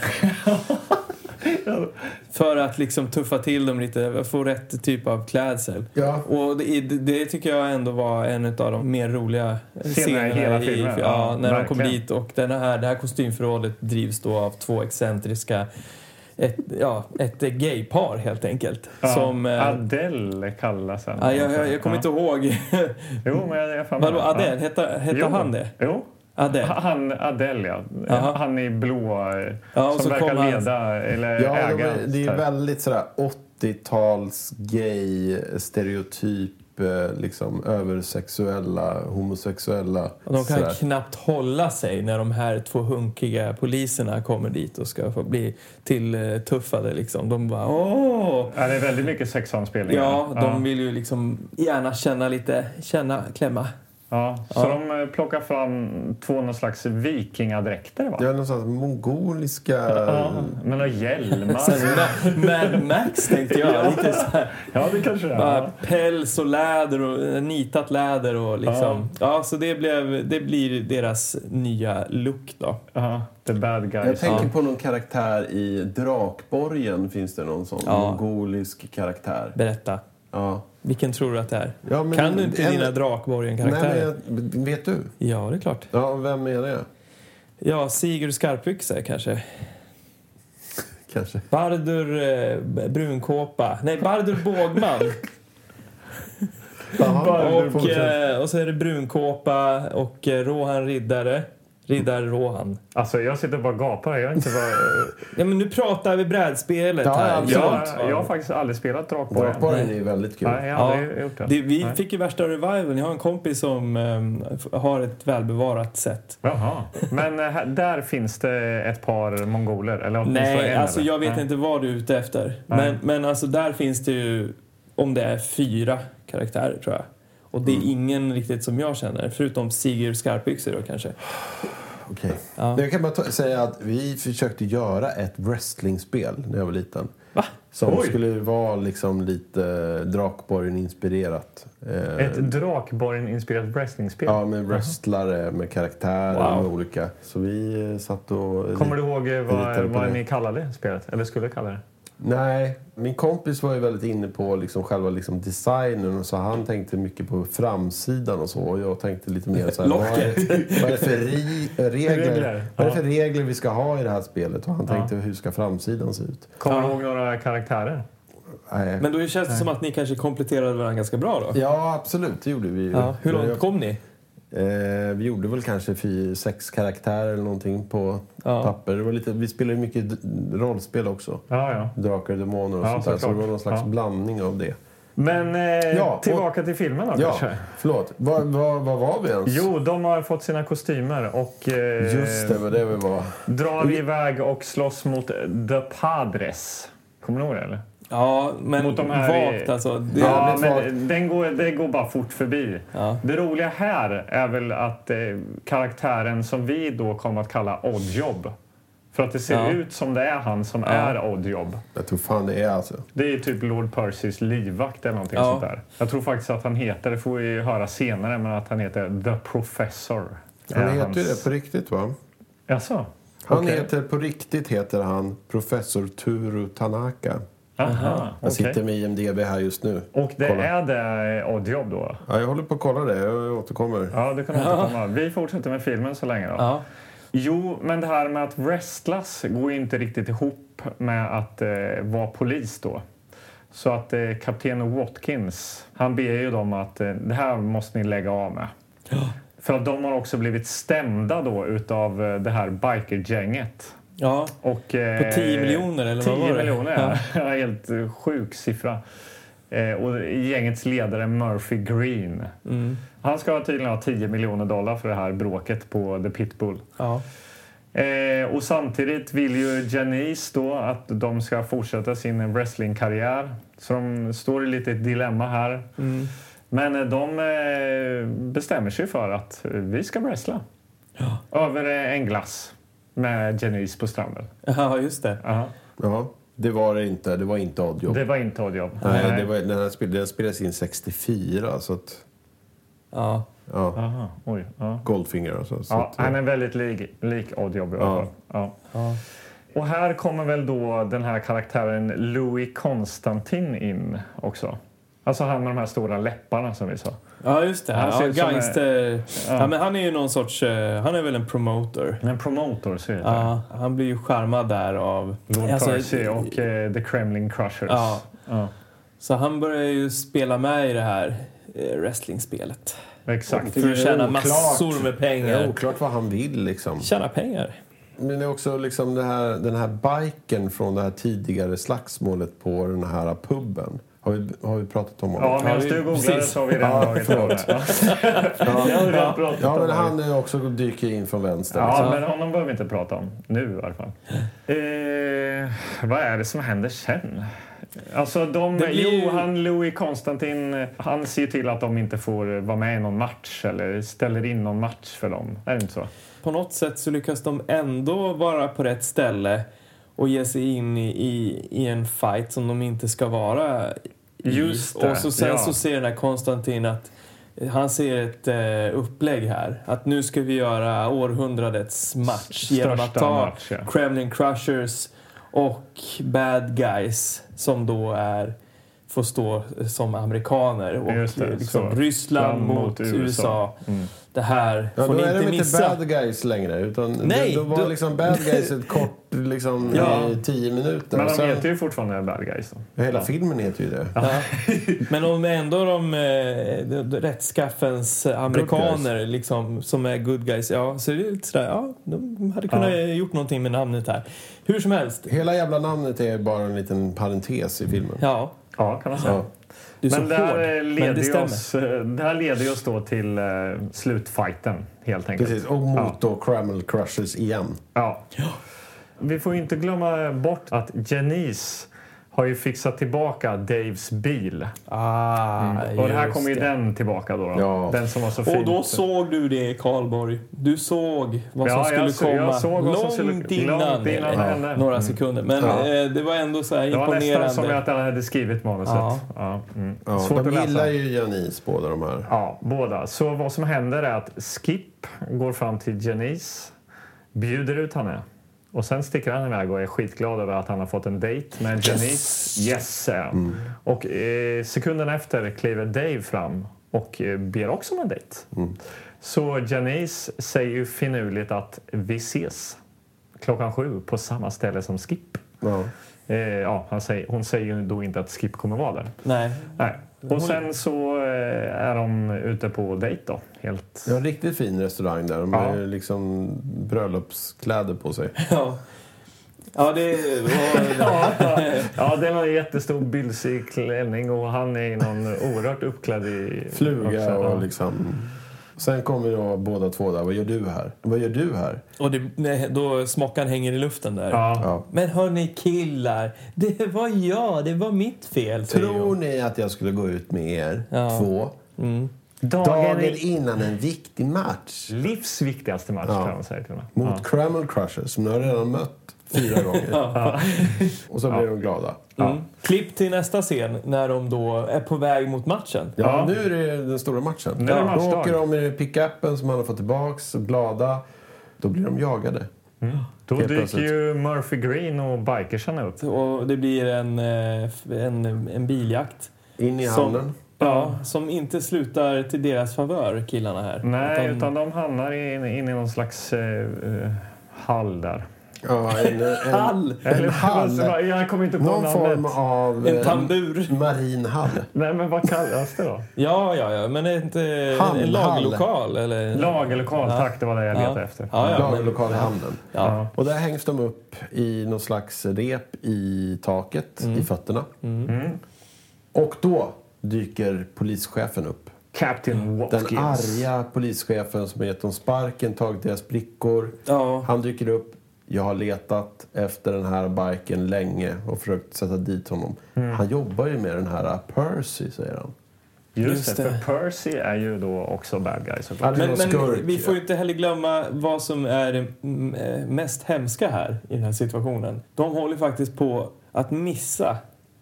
Speaker 3: För att liksom tuffa till dem lite, få rätt typ av klädsel.
Speaker 1: Ja.
Speaker 3: Och det, det tycker jag ändå var en av de mer roliga scenerna
Speaker 2: i hela filmen.
Speaker 3: Ja,
Speaker 2: Ja,
Speaker 3: när de kommer
Speaker 2: verkligen.
Speaker 3: dit. Och den här, det här kostymförrådet drivs då av två excentriska ett, ja, ett eh, gaypar helt enkelt.
Speaker 2: Ja.
Speaker 3: Som, eh,
Speaker 2: Adele kallas han.
Speaker 3: ja, jag, jag, jag kommer inte ihåg. <laughs>
Speaker 2: Jo, men jag, jag fan
Speaker 3: Vadå,
Speaker 2: Ja.
Speaker 3: Adele? Hette, hette
Speaker 2: Jo.
Speaker 3: han det?
Speaker 2: Jo.
Speaker 3: Adele?
Speaker 2: Han, Adele, ja.
Speaker 3: Jaha.
Speaker 2: Han i blå, eh,
Speaker 3: Ja, och
Speaker 2: som
Speaker 3: så
Speaker 2: verkar
Speaker 3: kom han-
Speaker 2: leda eller
Speaker 1: Ja, de
Speaker 2: äga.
Speaker 1: är, det är
Speaker 2: typ.
Speaker 1: väldigt sådär 80-tals gay, stereotyp, eh, liksom översexuella, homosexuella.
Speaker 3: Och de kan
Speaker 1: sådär.
Speaker 3: knappt hålla sig när de här två hunkiga poliserna kommer dit och ska få bli tilltuffade. Liksom. De bara åh!
Speaker 2: Ja, det är väldigt mycket sexanspelningar.
Speaker 3: Ja, de vill ju liksom gärna känna lite, känna, klämma.
Speaker 2: Ja, så de eh, plockar fram två någon slags vikingadräkter va?
Speaker 1: Det är någonstans mongoliska...
Speaker 2: Ja, Med några hjälmar.
Speaker 3: Sen Ma- Alltså, Mad Max tänkte jag. Lite så här,
Speaker 2: ja, det kanske det är.
Speaker 3: bara
Speaker 2: Ja.
Speaker 3: päls och läder och eh, nitat läder och liksom. Ja, så det, blev, det blir deras nya look då.
Speaker 2: Ja, the bad
Speaker 1: Jag
Speaker 2: guys.
Speaker 1: tänker på någon karaktär i Drakborgen. Finns det någon sån
Speaker 3: Ja.
Speaker 1: mongolisk karaktär?
Speaker 3: Berätta.
Speaker 1: Ja.
Speaker 3: Vilken tror du att det är?
Speaker 1: Ja, men
Speaker 3: kan du inte
Speaker 1: en-
Speaker 3: dina Drakborgen-karaktärer?
Speaker 1: Nej, men jag, vet du?
Speaker 3: Ja, det är klart.
Speaker 1: Ja, vem är det?
Speaker 3: Ja, Sigurd Skarpyxe kanske.
Speaker 1: Kanske.
Speaker 3: Bardur eh, B- Brunkåpa. Nej, Bardur
Speaker 2: <laughs>
Speaker 3: Bågman. och, eh, och så är det Brunkåpa och eh, Rohan Riddare. Riddar Rohan.
Speaker 2: Alltså, jag sitter och bara gapar. Jag har, inte bara,
Speaker 3: Ja, men nu pratar vi brädspelet
Speaker 1: Ja,
Speaker 3: här.
Speaker 1: absolut.
Speaker 2: jag, jag har faktiskt aldrig spelat Drakborgen.
Speaker 1: Drakborgen är ju väldigt kul.
Speaker 2: Nej, jag har aldrig gjort det.
Speaker 3: Det, vi
Speaker 2: Nej.
Speaker 3: fick ju värsta revivalen. Jag har en kompis som eh, f- har ett välbevarat sätt.
Speaker 2: Jaha. Men eh, här- där finns det ett par mongoler? Eller åtminstone
Speaker 3: Nej,
Speaker 2: en,
Speaker 3: alltså
Speaker 2: eller?
Speaker 3: jag vet
Speaker 2: Nej.
Speaker 3: inte vad du är ute efter.
Speaker 2: Nej.
Speaker 3: Men, men alltså där finns det ju, om det är fyra karaktärer tror jag. Och
Speaker 2: Mm.
Speaker 3: det är ingen riktigt som jag känner, förutom Sigurd Skarpyxe då kanske.
Speaker 1: Okej. Jag kan bara ta- säga att vi försökte göra ett wrestlingspel när jag var liten.
Speaker 3: Va?
Speaker 1: Som
Speaker 2: Oj.
Speaker 1: skulle vara liksom lite Drakborgen-inspirerat. Eh,
Speaker 2: Ett Drakborgen-inspirerat wrestlingspel?
Speaker 1: Ja, med wrestlare, med karaktärer
Speaker 3: Wow.
Speaker 1: med olika. Så vi eh, satt och...
Speaker 2: Kommer du ihåg eh,
Speaker 1: Jag litar
Speaker 2: vad,
Speaker 1: på
Speaker 2: vad
Speaker 1: det.
Speaker 2: ni kallade spelet? Eller skulle kalla det?
Speaker 1: Nej, min kompis var ju väldigt inne på liksom själva liksom designen och så han tänkte mycket på framsidan och så. Och jag tänkte lite mer så här, vad, är, vad är det för ri, regler,
Speaker 2: Regler,
Speaker 1: Vad är
Speaker 2: ja.
Speaker 1: det för regler vi ska ha i det här spelet? Och han tänkte, hur ska framsidan se ut?
Speaker 2: Kommer du ihåg några karaktärer?
Speaker 1: Nej.
Speaker 3: Men då känns det som att ni kanske kompletterade varandra ganska bra då.
Speaker 1: Ja, absolut. Det gjorde vi ju.
Speaker 3: Ja, hur
Speaker 1: Jag-
Speaker 3: långt kom ni?
Speaker 1: Eh, vi gjorde väl kanske fy, sex karaktärer eller någonting på
Speaker 3: Ja.
Speaker 1: papper. Det var lite, vi spelade ju mycket d- rollspel också.
Speaker 2: Ja, ja.
Speaker 1: Drakar och demoner och
Speaker 2: Ja,
Speaker 1: sånt där. Så det
Speaker 2: såklart.
Speaker 1: var någon slags
Speaker 2: Ja.
Speaker 1: blandning av det.
Speaker 2: Men eh,
Speaker 1: Ja, och-
Speaker 2: tillbaka till filmen då
Speaker 1: Ja,
Speaker 2: kanske?
Speaker 1: förlåt. Var, var, var var vi ens?
Speaker 2: Jo, de har fått sina kostymer och eh,
Speaker 1: Just det, var det vi var.
Speaker 2: drar iväg och slåss mot eh, The Padres. Kommer du ihåg det? Eller?
Speaker 3: Ja, men
Speaker 2: Mot de här i-
Speaker 3: vagt alltså. Det,
Speaker 2: Ja,
Speaker 1: Jävligt
Speaker 2: men den går, det går bara fort förbi.
Speaker 3: Ja.
Speaker 2: Det roliga här är väl att eh, karaktären som vi då kommer att kalla Oddjob. För att det ser
Speaker 3: Ja.
Speaker 2: ut som det är han som är Oddjob.
Speaker 1: Jag tror fan det är alltså.
Speaker 2: Det är typ Lord Percys livvakt eller någonting
Speaker 3: Ja.
Speaker 2: sånt där. Jag tror faktiskt att han heter, det får vi ju höra senare, men att han heter The Professor.
Speaker 1: Han
Speaker 2: Är
Speaker 1: heter ju det
Speaker 2: hans-
Speaker 1: på riktigt va?
Speaker 2: Jaså?
Speaker 1: Han
Speaker 2: Okej.
Speaker 1: heter, på riktigt heter han professor Turu Tanaka.
Speaker 2: Aha,
Speaker 1: Jag
Speaker 2: okej.
Speaker 1: sitter med IMDB här just nu.
Speaker 2: Och det
Speaker 1: Kolla.
Speaker 2: är det eh, Oddjob då?
Speaker 1: Ja, jag håller på att kolla det. Jag återkommer.
Speaker 2: Ja, det kan man inte komma. Vi fortsätter med filmen så länge då.
Speaker 3: ja.
Speaker 2: Jo, men det här med att wrestlas går ju inte riktigt ihop med att eh, vara polis då. Så att eh, kapten Watkins, han ber ju dem att eh, det här måste ni lägga av med. För att de har också blivit stämda då utav eh, det här bikergänget.
Speaker 3: ja.
Speaker 2: Och, eh,
Speaker 3: På 10 miljoner, eller
Speaker 2: 10
Speaker 3: vad var det?
Speaker 2: <laughs> miljoner, ja. Helt eh, sjuk siffra. Eh, och gängets ledare Murphy Green.
Speaker 3: Mm.
Speaker 2: Han ska tydligen ha 10 miljoner dollar för det här bråket på The Pitbull.
Speaker 3: Ja.
Speaker 2: Eh, och samtidigt vill ju Janice då att de ska fortsätta sin wrestlingkarriär. Så de står i lite ett dilemma här.
Speaker 3: Mm.
Speaker 2: Men eh, de eh, bestämmer sig för att eh, vi ska wrestla. Över eh, en glass med Janice på stranden.
Speaker 3: ja, just det.
Speaker 2: Aha.
Speaker 1: Ja, det var det inte. Det var inte Oddjob.
Speaker 2: Det var inte oddjobb.
Speaker 1: Nej, det var, den, här spel, den spelades in 64, så att...
Speaker 3: Ja.
Speaker 1: Ja,
Speaker 2: Aha, oj. Ja.
Speaker 1: Goldfinger alltså. Så
Speaker 2: Ja,
Speaker 1: att,
Speaker 2: han är väldigt lik, lik Oddjob i alla
Speaker 1: Ja.
Speaker 2: fall. Ja. Och här kommer väl då den här karaktären Louis Konstantin in också. Alltså han med de här stora läpparna som vi sa.
Speaker 3: Ja, just det.
Speaker 2: Han ser
Speaker 3: Ja,
Speaker 2: ut som en-
Speaker 3: gangster. Ja, men han är ju någon sorts... eh, Han är väl en promoter.
Speaker 2: En promotor så heter det.
Speaker 3: Ja, han blir ju charmad där av...
Speaker 2: Lord
Speaker 3: Alltså,
Speaker 2: Percy och eh, The Kremlin Crushers.
Speaker 3: Ja.
Speaker 2: Ja,
Speaker 3: Så han börjar ju spela med i det här eh, wrestlingspelet.
Speaker 2: exakt.
Speaker 3: För att tjäna
Speaker 2: Oklart.
Speaker 3: massor med
Speaker 1: det är
Speaker 3: pengar.
Speaker 1: oklart vad han vill liksom.
Speaker 3: Tjäna pengar.
Speaker 1: Men det är också liksom det här, den här biken från det här tidigare slagsmålet på den här puben. Har vi, har vi pratat om honom?
Speaker 2: Ja, medan
Speaker 3: Ja, vi-
Speaker 2: du googlar
Speaker 3: precis.
Speaker 2: så har vi redan dragit av det. Ja. Det har vi redan pratat
Speaker 1: Ja,
Speaker 2: om.
Speaker 1: men han är också dyker in från vänster. Liksom.
Speaker 2: Ja,
Speaker 3: liksom.
Speaker 2: men honom behöver vi inte prata om nu i alla fall. Eh, vad är det som händer sen? Alltså de,
Speaker 3: Det blir ju-
Speaker 2: Jo, han Louis Konstantin, eh, han ser till att de inte får eh, vara med i någon match eller ställer in någon match för dem. Är det inte så?
Speaker 3: På något sätt så lyckas de ändå vara på rätt ställe och ge sig in i, i, i en fight som de inte ska vara i.
Speaker 2: Just det,
Speaker 3: Och så sen
Speaker 2: ja.
Speaker 3: så ser den här Konstantin att eh, han ser ett eh, upplägg här. Att nu ska vi göra århundradets match
Speaker 2: Största
Speaker 3: genom att ta
Speaker 2: match, ja.
Speaker 3: Kremlin Crushers och Bad Guys som då är får stå som amerikaner och
Speaker 2: Just det,
Speaker 3: liksom
Speaker 2: så.
Speaker 3: Ryssland
Speaker 2: Land
Speaker 3: mot
Speaker 2: mot
Speaker 3: USA.
Speaker 2: USA. Mm.
Speaker 3: Det här
Speaker 1: Ja,
Speaker 3: får
Speaker 1: då
Speaker 3: ni
Speaker 1: är
Speaker 3: inte
Speaker 1: de
Speaker 3: missa.
Speaker 1: inte bad guys längre. Utan
Speaker 3: Nej,
Speaker 1: det, då var
Speaker 3: då-
Speaker 1: liksom bad guys ett kort, liksom
Speaker 3: Ja.
Speaker 1: i tio minuter.
Speaker 2: Men han
Speaker 1: Sen-
Speaker 2: heter ju fortfarande Bad Guys. Då.
Speaker 1: Hela filmen heter ju det.
Speaker 3: Men om ändå de, eh, de, de rättskaffens amerikaner liksom, som är good guys, ja, så är det lite sådär, ja, de hade kunnat
Speaker 2: Ja.
Speaker 3: gjort någonting med namnet här. Hur som helst,
Speaker 1: Hela jävla namnet är bara en liten parentes i filmen.
Speaker 3: ja,
Speaker 2: Ja, kan man säga.
Speaker 1: Ja.
Speaker 3: du är
Speaker 2: Men
Speaker 3: så
Speaker 2: det här, eh,
Speaker 3: hård, men det
Speaker 2: leder ju
Speaker 3: stämmer.
Speaker 2: oss, eh, det här leder ju oss då till eh, slutfighten helt enkelt.
Speaker 1: Precis, och mot då Cramel Crushers igen.
Speaker 2: Ja. Vi får ju inte glömma bort att Janice har ju fixat tillbaka Daves bil. Mm.
Speaker 3: Ah,
Speaker 2: och det här
Speaker 3: just
Speaker 2: kommer ju
Speaker 3: det.
Speaker 2: den tillbaka då. då.
Speaker 1: Ja.
Speaker 2: Den som var så fin.
Speaker 3: Och då såg du det, Karlborg. Du såg vad som
Speaker 2: Ja,
Speaker 3: skulle
Speaker 2: jag så- jag
Speaker 3: komma
Speaker 2: såg vad som
Speaker 3: långt,
Speaker 2: skulle-
Speaker 3: innan,
Speaker 2: långt innan
Speaker 3: eh,
Speaker 2: henne.
Speaker 3: några sekunder. Men eh, det var ändå så här
Speaker 2: det var nästan
Speaker 3: imponerande.
Speaker 2: som att han hade skrivit manuset.
Speaker 3: Ja.
Speaker 2: Ja. mm.
Speaker 1: Ja,
Speaker 2: Svårt att
Speaker 1: de
Speaker 2: läsa.
Speaker 1: gillar ju Janice båda de här.
Speaker 2: Ja, båda. Så vad som händer är att Skip går fram till Janice, bjuder ut henne. Och sen sticker han iväg och är skitglad över att han har fått en dejt med Janice. Yes, säger han. Och eh, sekunden efter kliver Dave fram och eh, ber också om en dejt. Så Janice säger ju finurligt att vi ses klockan sju på samma ställe som Skip.
Speaker 1: Ja.
Speaker 2: Eh, ja, han säger, hon säger ju då inte att Skip kommer vara där.
Speaker 3: Nej.
Speaker 2: Nej. Och sen så eh, är de ute på dejt då. Helt.
Speaker 1: Det var en riktigt fin restaurang där. De har
Speaker 2: Ja.
Speaker 1: ju liksom bröllopskläder på sig.
Speaker 3: Ja. Ja, det <laughs> var...
Speaker 2: <laughs> Ja, det var en jättestor bylsig klänning och han är i någon oerhört uppklädd i... också,
Speaker 1: Fluga
Speaker 2: ja.
Speaker 1: och liksom... Sen kommer då båda två där. Vad gör du här? Vad gör du här?
Speaker 3: Och det, nej, då smockan hänger i luften där.
Speaker 2: Ja.
Speaker 1: Ja.
Speaker 3: Men hörni killar, det var jag, det var mitt fel. säger
Speaker 1: Tror
Speaker 3: hon.
Speaker 1: ni att jag skulle gå ut med er
Speaker 3: Ja.
Speaker 1: två
Speaker 2: Dagen,
Speaker 1: dagen
Speaker 2: är
Speaker 1: innan en viktig match?
Speaker 2: livs viktigaste match
Speaker 1: Ja.
Speaker 2: kan man säga till och med.
Speaker 1: Mot Cramel Crushers som ni har redan mött fyra gånger. Och så blir de glada.
Speaker 3: Mm. Klipp till nästa scen när de då är på väg mot matchen.
Speaker 1: Ja,
Speaker 2: Ja.
Speaker 1: nu är det den stora matchen.
Speaker 2: Nu är det
Speaker 1: Då
Speaker 2: matchdag.
Speaker 1: åker de i pickuppen som han har fått tillbaks och glada. Då blir de jagade.
Speaker 2: Då
Speaker 1: Helt
Speaker 2: dyker
Speaker 1: plötsligt.
Speaker 2: ju Murphy Green och bikersarna upp.
Speaker 3: Och det blir en, eh, f- en, en biljakt.
Speaker 1: In i
Speaker 3: Som-
Speaker 1: hamnen.
Speaker 3: Ja, som inte slutar till deras favör, killarna här.
Speaker 2: Nej, utan, de hamnar in, in i någon slags eh, eh, hall där.
Speaker 1: Ja, en, en,
Speaker 3: <laughs> Hall!
Speaker 2: Eller, <laughs>
Speaker 1: hall.
Speaker 2: vad- jag kommer inte på
Speaker 1: någon
Speaker 2: namnet.
Speaker 1: form av
Speaker 3: En
Speaker 1: eh,
Speaker 3: tambur.
Speaker 1: marin hall.
Speaker 2: Nej, men vad kallas det då?
Speaker 3: Ja, ja, ja. Men är inte
Speaker 1: Hall,
Speaker 3: en
Speaker 1: hall.
Speaker 3: laglokal? Eller?
Speaker 2: Lagerlokal,
Speaker 3: Ja.
Speaker 2: tack. Det var det jag letade
Speaker 3: ja.
Speaker 2: efter.
Speaker 3: Ja, ja, men,
Speaker 1: Lagerlokal i hamnen.
Speaker 3: ja.
Speaker 1: Och där hängs de
Speaker 3: Mm.
Speaker 1: upp i någon slags rep i taket, i fötterna. Mm. Och då dyker polischefen upp.
Speaker 2: Captain
Speaker 1: Den
Speaker 2: Watkins.
Speaker 1: arga polischefen som har gett dem sparken, tagit deras brickor.
Speaker 3: Ja.
Speaker 1: Han dyker upp. Jag har letat efter den här biken länge och försökt sätta dit honom.
Speaker 3: Mm.
Speaker 1: Han jobbar ju med den här Percy, säger han.
Speaker 2: Just,
Speaker 3: Just
Speaker 2: det,
Speaker 3: det.
Speaker 2: för Percy är ju då också bad guy såklart.
Speaker 1: Men-
Speaker 3: Men, men
Speaker 1: skurk,
Speaker 3: vi
Speaker 1: ja.
Speaker 3: får ju inte heller glömma vad som är mm, eh, mest hemska här i den här situationen. De håller faktiskt på att missa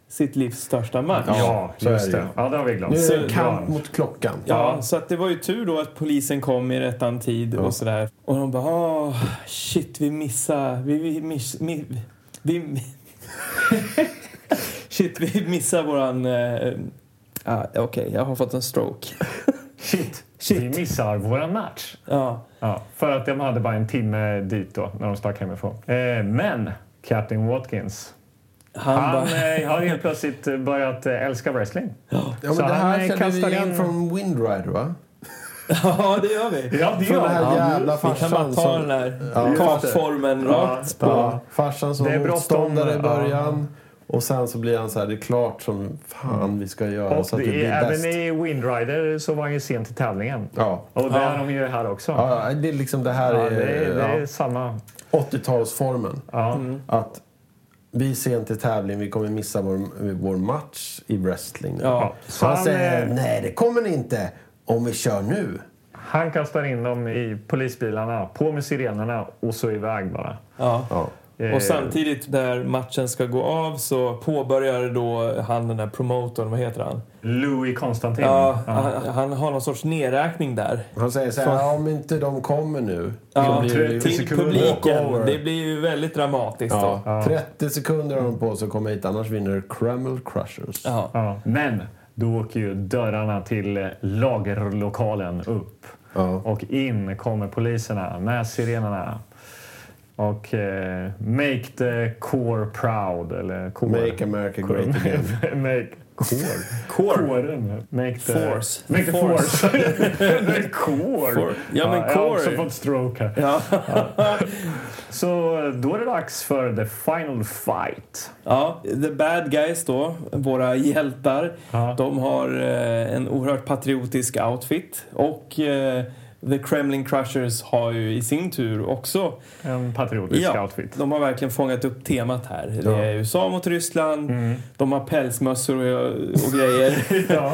Speaker 3: sitt livs största match.
Speaker 2: Ja,
Speaker 1: så är det
Speaker 2: just det.
Speaker 1: ju.
Speaker 2: Ja, det har vi glömt.
Speaker 1: Nu är det
Speaker 3: Så-
Speaker 1: kamp mot klockan.
Speaker 3: Ja, så att det var ju tur då att polisen kom i rättan tid och sådär. Och de bara, åh, shit, vi missar, vi, vi, miss, mi, <laughs> vi Shit, vi missar våran... Eh, ah, Okej, jag har fått en stroke.
Speaker 2: Shit.
Speaker 3: Shit.
Speaker 2: vi missar våran match.
Speaker 3: Ja,
Speaker 2: Ja, för att de hade bara en timme dit då, när de stack hemifrån. Eh, men Captain Watkins,
Speaker 3: han,
Speaker 2: han
Speaker 3: bara...
Speaker 2: eh, har helt plötsligt eh, börjat eh, älska wrestling.
Speaker 1: Ja,
Speaker 2: Så
Speaker 1: men det
Speaker 2: han,
Speaker 1: här
Speaker 2: eh,
Speaker 1: känner vi
Speaker 2: kastar
Speaker 1: igen
Speaker 2: in-
Speaker 1: från Windrider, va?
Speaker 3: <laughs> ja, det gör vi.
Speaker 2: Ja, det
Speaker 1: Från den
Speaker 2: gör
Speaker 1: här
Speaker 2: han.
Speaker 1: jävla
Speaker 3: Vi kan bara
Speaker 1: farsan
Speaker 3: ta
Speaker 1: som...
Speaker 3: den där
Speaker 1: Ja.
Speaker 3: kartformen rakt på...
Speaker 1: Ja, farsan som
Speaker 2: Det är
Speaker 1: var
Speaker 2: bråttom,
Speaker 1: motståndare i
Speaker 2: ja.
Speaker 1: början. Och sen så blir han så här, det är klart som fan vi ska göra
Speaker 2: Och
Speaker 1: så att vi
Speaker 2: det
Speaker 1: blir
Speaker 2: är, även
Speaker 1: bäst.
Speaker 2: i Windrider så var han ju sen till tävlingen.
Speaker 1: Ja.
Speaker 2: Och det är de ju här också. Ja.
Speaker 1: Ja, det är liksom det här
Speaker 2: det, är, det
Speaker 1: är
Speaker 2: är
Speaker 1: ja,
Speaker 2: samma.
Speaker 1: 80-talsformen.
Speaker 2: Ja.
Speaker 1: Att vi är sent i tävling, vi kommer missa vår, vår match i wrestling.
Speaker 3: Ja.
Speaker 1: Så han
Speaker 2: Han,
Speaker 1: säger,
Speaker 2: eh,
Speaker 1: nej det kommer ni inte om vi kör nu.
Speaker 2: Han kastar in dem i polisbilarna, på med sirenerna och så iväg bara.
Speaker 3: Ja.
Speaker 1: Ja.
Speaker 2: Eh,
Speaker 3: Och samtidigt när matchen ska gå av så påbörjar då han den där promotorn, vad heter han?
Speaker 2: Louis Konstantin.
Speaker 3: Ja,
Speaker 2: Ja.
Speaker 3: Han, han har någon sorts nedräkning där.
Speaker 1: Han säger så här, "Ja, om inte de kommer nu.
Speaker 3: Ja,
Speaker 1: så blir det, liksom
Speaker 2: 30
Speaker 3: till
Speaker 2: sekunder.
Speaker 3: publiken.
Speaker 1: Walkover.
Speaker 3: Det blir ju väldigt dramatiskt då.
Speaker 1: ja, 30 sekunder har de på sig att komma hit, annars vinner Kreml Crushers.
Speaker 3: Ja.
Speaker 2: Ja. Men då åker ju dörrarna till eh, lagerlokalen upp.
Speaker 1: Ja.
Speaker 2: Och in kommer poliserna med sirenerna. Och eh, make the core proud. Eller core.
Speaker 1: Make America great again.
Speaker 2: <laughs> make core. Kåren. Make the
Speaker 3: Force.
Speaker 2: Make the force. <laughs>
Speaker 3: Force.
Speaker 2: the core.
Speaker 3: For- ja, men
Speaker 2: Jag har
Speaker 3: core.
Speaker 2: också fått stroke här.
Speaker 3: Ja.
Speaker 2: Så eh, då är det dags för the final fight.
Speaker 3: Ja, the bad guys då, våra hjältar,
Speaker 2: Ja.
Speaker 3: de har eh, en oerhört patriotisk outfit. Och eh, The Kremlin Crushers har ju i sin tur också
Speaker 2: En patriotisk outfit.
Speaker 3: de har verkligen fångat upp temat här. Det är USA mot Ryssland,
Speaker 1: Mm.
Speaker 3: de har pälsmössor och,
Speaker 1: <laughs>
Speaker 3: och grejer.
Speaker 2: Ja.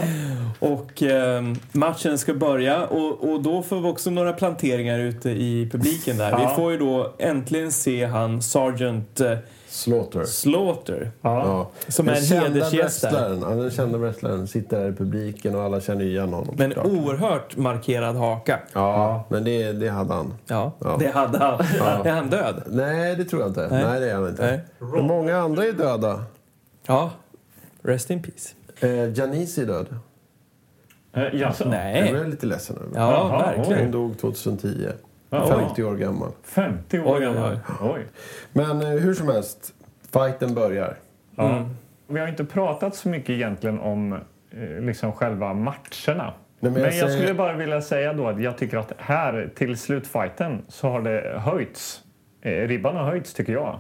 Speaker 3: Och ehm, matchen ska börja och, och då får vi också några planteringar ute i publiken där.
Speaker 2: Ja.
Speaker 3: Vi får ju då äntligen se han Sergeant eh,
Speaker 1: Slaughter.
Speaker 3: Slaughter.
Speaker 1: Ja.
Speaker 3: Som
Speaker 1: Den
Speaker 3: är en
Speaker 1: kända
Speaker 3: hedersgäst där.
Speaker 1: wrestlaren. Ja, den kända wrestlaren sitter där i publiken och alla känner ju igen honom.
Speaker 3: Men
Speaker 1: såklart.
Speaker 3: oerhört markerad haka.
Speaker 1: Ja, men det, det hade han.
Speaker 3: Ja,
Speaker 1: Ja.
Speaker 3: det hade han. <laughs> Är han död?
Speaker 1: Nej, det tror jag inte. Nej, det är han inte.
Speaker 3: Nej.
Speaker 1: Men många andra är döda.
Speaker 3: Ja. Rest in peace.
Speaker 1: Eh, Janice är död.
Speaker 2: Eh, jaså?
Speaker 1: Jag
Speaker 3: Nej.
Speaker 1: blev lite ledsen över.
Speaker 3: Ja,
Speaker 2: Jaha,
Speaker 3: verkligen.
Speaker 1: Hon dog 2010.
Speaker 2: Ja,
Speaker 1: 50 år gammal.
Speaker 2: 50 år
Speaker 3: Oj, oj, oj.
Speaker 2: gammal. Oj.
Speaker 1: Men eh, hur som helst, fighten börjar.
Speaker 2: Ja. Mm. Vi har inte pratat så mycket egentligen om eh, liksom själva matcherna.
Speaker 1: men jag
Speaker 2: men jag,
Speaker 1: säger-
Speaker 2: skulle bara vilja säga då att jag tycker att här till slutfighten så har det höjts. Eh, Ribban har höjts tycker jag.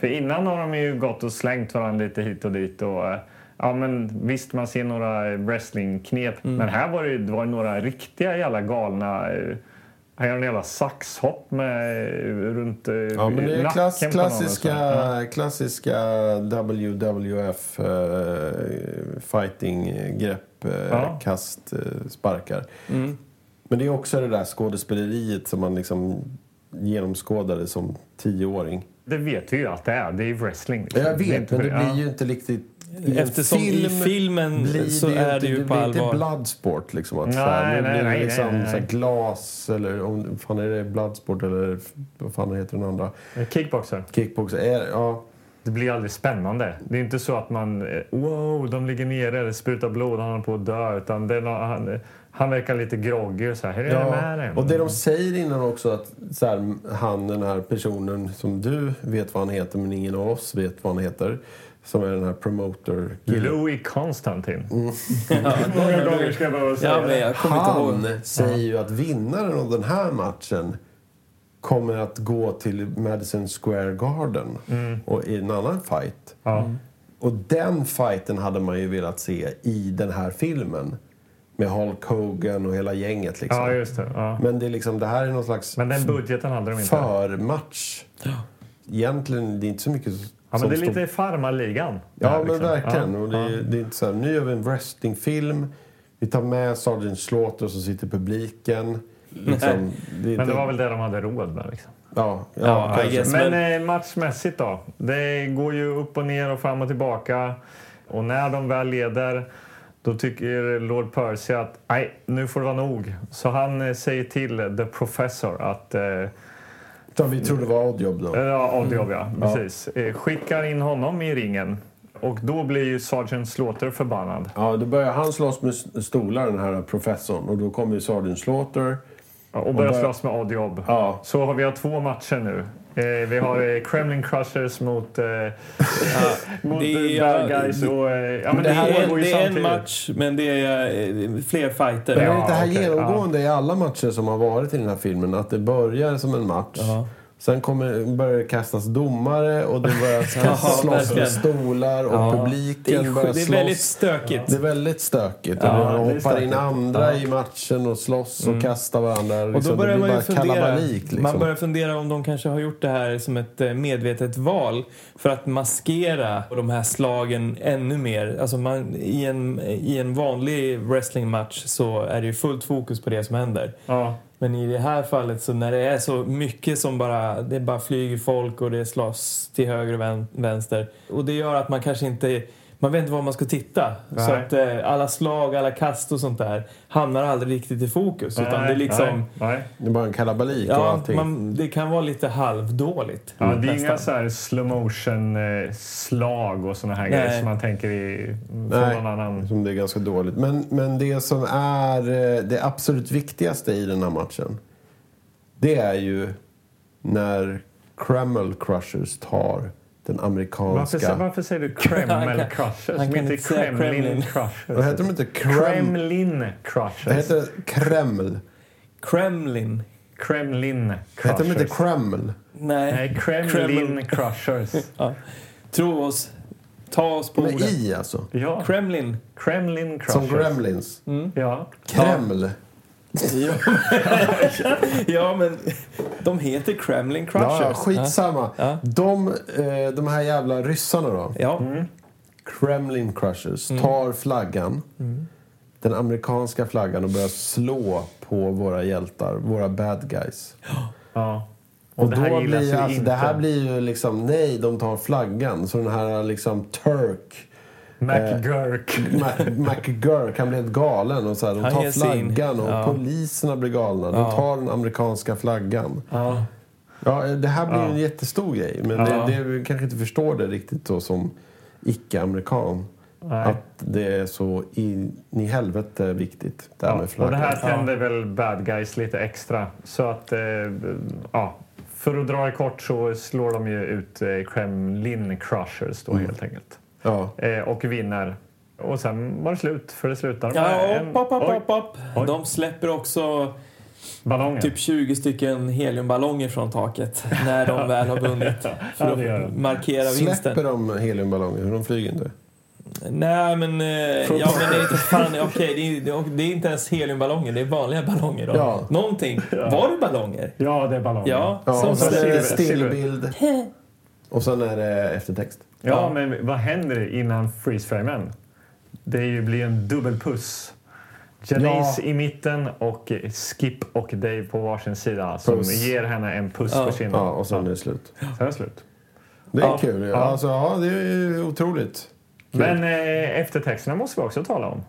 Speaker 2: För innan har de ju gått och slängt varandra lite hit och dit. Och, eh, ja, men visst, man ser några eh, wrestlingknep, men här var det, ju- det var ju några riktiga jävla galna... eh, Han gör en jävla saxhopp med, eh, runt eh,
Speaker 1: Ja, men det är klass,
Speaker 2: nacken på någon och så.
Speaker 1: klassiska,
Speaker 2: Ja.
Speaker 1: klassiska WWF eh, fighting-grepp, eh,
Speaker 2: Ja.
Speaker 1: kast, eh, sparkar. Men det är också det där skådespeleriet som man liksom genomskådade som tioåring.
Speaker 2: Det vet vi ju att det är. Det är ju wrestling. liksom.
Speaker 1: Jag
Speaker 2: är
Speaker 1: vet,
Speaker 2: inte-
Speaker 1: men det
Speaker 2: ja.
Speaker 1: blir ju inte riktigt... i en
Speaker 3: Eftersom i filmen
Speaker 1: blir
Speaker 3: så
Speaker 1: ju
Speaker 3: är
Speaker 1: inte-
Speaker 3: det ju på
Speaker 1: blir
Speaker 3: allvar.
Speaker 1: inte bloodsport liksom. Att
Speaker 2: Nej,
Speaker 1: så här, nu
Speaker 2: nej,
Speaker 1: blir det
Speaker 2: nej,
Speaker 1: liksom
Speaker 2: nej, nej.
Speaker 1: Så här glas eller om fan är det bloodsport eller vad fan heter den andra?
Speaker 2: Kickboxer.
Speaker 1: Kickbox är ja.
Speaker 2: Det blir aldrig spännande. Det är inte så att man... eh, Wow, de ligger nere, det sprutar blod, han håller på att dö. Utan det är nå- han, eh, han verkar lite groggy och så här. Hur är det med dig?
Speaker 1: och det de säger innan också att så här, han, den här personen som du vet vad han heter men ingen av oss vet vad han heter. Som är den här promoter
Speaker 2: Louis Konstantin.
Speaker 1: Mm.
Speaker 2: Hur <laughs> många gånger ska jag behöva säga
Speaker 3: Ja, men
Speaker 2: det?
Speaker 3: jag kommer inte ihåg.
Speaker 1: Han säger ju att vinnaren av den här matchen kommer att gå till Madison Square Garden och i en annan fight.
Speaker 2: Mm. Ja.
Speaker 1: Och den fighten hade man ju velat se i den här filmen. Med Hulk Hogan och hela gänget liksom.
Speaker 2: Ja, just det. Ja.
Speaker 1: Men det, är liksom, det här är någon slags
Speaker 2: Men den budgeten hade de inte.
Speaker 1: förmatch. Egentligen, det är inte så mycket
Speaker 2: Ja, men
Speaker 1: som
Speaker 2: det är
Speaker 1: står
Speaker 2: lite farmarligan.
Speaker 1: Ja,
Speaker 2: där,
Speaker 1: men
Speaker 2: liksom.
Speaker 1: verkligen.
Speaker 2: Ja.
Speaker 1: Och det, är- det är inte så här, nu gör vi en wrestlingfilm. Vi tar med Sergeant Slaughter som sitter i publiken. Liksom, det,
Speaker 2: Men det var väl det de hade råd med. Liksom.
Speaker 1: Ja, ja,
Speaker 3: Ja, I
Speaker 1: kanske.
Speaker 3: guess,
Speaker 2: Men,
Speaker 3: men,
Speaker 2: eh, matchmässigt då? Det går ju upp och ner och fram och tillbaka. Och när de väl leder då tycker Lord Percy att nej, nu får det vara nog. Så han eh, säger till The Professor att eh,
Speaker 1: Utan vi trodde det var odd jobb då.
Speaker 2: ja,
Speaker 3: Mm.
Speaker 2: Oddjob ja, precis. Eh, skickar in honom i ringen. Och då blir ju Sergeant Slaughter förbannad.
Speaker 1: Ja, då börjar han slåss med s- stolar, den här professorn. Och då kommer ju Sergeant Slaughter.
Speaker 2: Och börjar
Speaker 1: bör-
Speaker 2: slåss med Oddjob.
Speaker 1: Ja.
Speaker 2: Så har vi har två matcher nu. Eh, vi har eh, Kremlin Crushers mot,
Speaker 3: <laughs>
Speaker 2: eh, <laughs> mot
Speaker 3: det är-
Speaker 2: eh, Bad Guys. Och, eh, ja, men
Speaker 3: det,
Speaker 2: det,
Speaker 3: är en,
Speaker 2: går ju
Speaker 3: det är en
Speaker 2: samtidigt.
Speaker 3: match, men det är eh, fler fighter.
Speaker 1: Men är
Speaker 2: Ja,
Speaker 1: det inte det här
Speaker 2: okej,
Speaker 1: genomgående i alla matcher som har varit i den här filmen? Att det börjar som en match. Sen kommer, börjar det kastas domare och det börjar
Speaker 3: <laughs>
Speaker 1: kastas slåss
Speaker 3: verkligen.
Speaker 1: med stolar och
Speaker 3: Ja. det,
Speaker 1: publiken
Speaker 3: är,
Speaker 1: börjar
Speaker 3: det
Speaker 1: slåss.
Speaker 3: är väldigt stökigt.
Speaker 1: Det är väldigt stökigt.
Speaker 3: Ja,
Speaker 1: Ja,
Speaker 3: det är
Speaker 1: hoppar
Speaker 3: stökigt. Mm.
Speaker 1: in andra i matchen och slåss och kastar varandra. Liksom.
Speaker 3: Och då börjar
Speaker 1: det
Speaker 3: man
Speaker 1: blir
Speaker 3: ju
Speaker 1: bara
Speaker 3: fundera.
Speaker 1: kalabalik. Liksom.
Speaker 3: Man börjar fundera om de kanske har gjort det här som ett eh, medvetet val för att maskera de här slagen ännu mer. Alltså man, i, en, I en vanlig wrestlingmatch så är det ju fullt fokus på det som händer.
Speaker 2: Ja.
Speaker 3: Men i det här fallet så när det är så mycket som bara, det bara flyger folk och det slåss till höger och vän- vänster. Och det gör att man kanske inte, man vet inte var man ska titta. Så
Speaker 2: Nej.
Speaker 3: att eh, alla slag, alla kast och sånt där hamnar aldrig riktigt i fokus. Utan det är liksom...
Speaker 2: Nej, nej.
Speaker 1: Det är bara en kalabalik och
Speaker 3: Ja,
Speaker 1: allting.
Speaker 3: man, det kan vara lite halvdåligt.
Speaker 2: Ja, det är inga
Speaker 3: nästan.
Speaker 2: så här slow motion eh, slag och såna här grejer som man tänker i från
Speaker 1: Nej.
Speaker 2: någon annan.
Speaker 1: Som det är ganska dåligt. Men, men det som är eh, det absolut viktigaste i den här matchen. Det är ju när Kreml Crushers tar den
Speaker 2: Varför,
Speaker 1: amerikanska...
Speaker 2: sä- varför säger
Speaker 3: <laughs>
Speaker 2: du Kreml Crushers?
Speaker 3: han kan
Speaker 2: inte
Speaker 3: inte säga
Speaker 2: Kremlin
Speaker 3: Kremlin.
Speaker 1: Vad
Speaker 3: <laughs>
Speaker 2: Crushers.
Speaker 1: heter de inte? Kreml...
Speaker 2: Kremlin
Speaker 1: Det
Speaker 2: Crushers.
Speaker 1: heter Kreml.
Speaker 3: Kremlin.
Speaker 2: Kremlin
Speaker 1: Heter de inte
Speaker 2: Crushers.
Speaker 1: Kreml?
Speaker 3: Nej,
Speaker 2: Nej, Kremlin
Speaker 3: <laughs>
Speaker 2: Crushers.
Speaker 3: Tro oss. Ta oss på
Speaker 1: Med
Speaker 3: orden.
Speaker 1: i alltså.
Speaker 2: Ja,
Speaker 3: Kremlin.
Speaker 2: Kremlin Crushers.
Speaker 1: Som Gremlins.
Speaker 2: Ja.
Speaker 1: Kreml.
Speaker 3: Ja, men <laughs> de heter Kremlin Crushers.
Speaker 1: Ja, ja, skitsamma.
Speaker 3: Ja.
Speaker 1: De, eh, de här jävla ryssarna då.
Speaker 3: Ja.
Speaker 2: Mm.
Speaker 1: Kremlin Crushers tar flaggan,
Speaker 2: Mm.
Speaker 1: den amerikanska flaggan och börjar slå på våra hjältar, våra bad guys.
Speaker 2: ja.
Speaker 1: Och,
Speaker 2: det här
Speaker 1: då
Speaker 2: gillas
Speaker 1: blir
Speaker 2: ju
Speaker 1: alltså,
Speaker 2: inte.
Speaker 1: det här blir ju liksom, nej, de tar flaggan. Så den här liksom Turk, Eh, <laughs>
Speaker 2: McGurk.
Speaker 1: Ma- McGurk, han blir helt galen. Och så här, de
Speaker 3: Han
Speaker 1: tar
Speaker 3: ger sig in.
Speaker 1: flaggan och
Speaker 3: Ja.
Speaker 1: poliserna blir galna. De tar den amerikanska flaggan.
Speaker 3: Ja.
Speaker 1: Ja, det här blir ju en jättestor grej. Men det, det, vi kanske inte förstår det riktigt då som icke-amerikan. Att det är så in i helvete viktigt, det här
Speaker 2: Ja,
Speaker 1: med
Speaker 2: och det
Speaker 1: flaggan.
Speaker 2: här tänder väl bad guys lite extra. Så att, eh, ja, för att dra det kort så slår de ju ut eh, Kremlin Crushers då
Speaker 1: Mm.
Speaker 2: helt enkelt.
Speaker 1: Ja.
Speaker 2: Eh, och vinner. Och sen var det slut, för det slutar
Speaker 3: Ja,
Speaker 2: en-
Speaker 3: upp, upp,
Speaker 2: oj,
Speaker 3: upp, upp,
Speaker 2: Oj.
Speaker 3: upp. De släpper också
Speaker 2: ballonger.
Speaker 3: typ 20 stycken heliumballonger från taket när de väl har vunnit.
Speaker 2: Ja, det gör
Speaker 3: För att
Speaker 2: de.
Speaker 3: markera vinsten.
Speaker 1: Släpper de heliumballonger? De flyger inte.
Speaker 3: Nej, men... Eh, ja, men det är inte fan... Okej, det, är- det, är- det är inte ens heliumballonger. Det är vanliga ballonger. Då.
Speaker 1: Ja.
Speaker 3: Någonting. Var det ballonger?
Speaker 2: Ja, det är ballonger.
Speaker 3: Ja,
Speaker 1: Ja,
Speaker 3: som
Speaker 1: och sen är
Speaker 3: silver.
Speaker 1: det
Speaker 2: silver.
Speaker 1: stillbild. Och sen är det eftertext.
Speaker 2: Ja, men vad händer innan freeze-framen? Det är ju- blir en dubbelpuss. Janice i mitten och Skip och Dave på varsin sida som
Speaker 1: Puss.
Speaker 2: ger henne en puss
Speaker 3: Ja.
Speaker 2: på kinden.
Speaker 1: Ja, och sen är det slut.
Speaker 2: Sen är det slut.
Speaker 1: Det är kul. Ja.
Speaker 2: Ja.
Speaker 1: Alltså, ja, det är ju otroligt.
Speaker 2: Men eh, eftertexterna måste vi också tala om.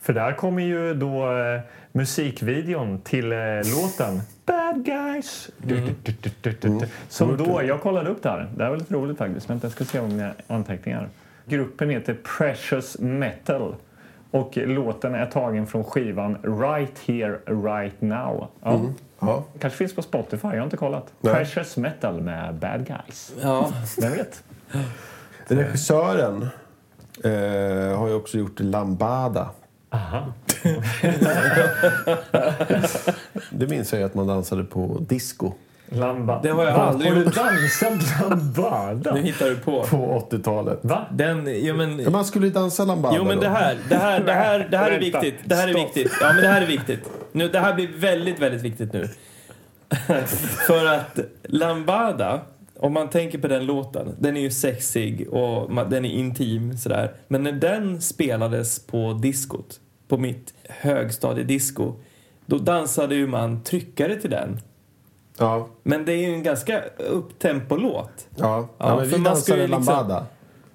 Speaker 2: För där kommer ju då eh, musikvideon till eh, låten Bad Guys. Du, du, du, du, du, du, du. Som då, jag kollade upp det här. Det här var lite roligt faktiskt. Vänta, jag ska se om mina anteckningar. Gruppen heter Precious Metal. Och låten är tagen från skivan Right Here Right Now. Ja.
Speaker 1: Ja.
Speaker 2: Kanske finns på Spotify, jag har inte kollat. Precious Metal med Bad Guys.
Speaker 3: Ja.
Speaker 2: Vem vet?
Speaker 1: Regissören eh, har ju också gjort Lambada. <laughs>
Speaker 2: Aha.
Speaker 1: Det minns jag ju att man dansade på disco.
Speaker 2: Lamba.
Speaker 3: Det har jag aldrig
Speaker 2: Har du
Speaker 3: gjort.
Speaker 2: dansat lambada?
Speaker 3: Nu hittar du på.
Speaker 1: På 80-talet.
Speaker 2: Va?
Speaker 3: Den, ja, men,
Speaker 1: Ja, Man skulle ju dansa lambada
Speaker 3: jo men det här, det här, det här, det här är
Speaker 2: Vänta.
Speaker 3: viktigt. Det här är
Speaker 2: Stopp.
Speaker 3: viktigt. Ja men det här är viktigt. Nu, det här blir väldigt, väldigt
Speaker 2: <laughs>
Speaker 3: viktigt nu. För att Lambada, om man tänker på den låten, den är ju sexig och ma- den är intim sådär. Men när den spelades på diskot, på mitt högstadiedisco, då dansade ju man tryckare till den.
Speaker 1: då. Ja,
Speaker 3: Men det är ju en ganska upptempo-låt.
Speaker 1: ja. ja,
Speaker 3: Ja,
Speaker 1: men
Speaker 3: för
Speaker 1: vi
Speaker 3: man ska ju
Speaker 1: dansade
Speaker 3: liksom-
Speaker 1: lambada.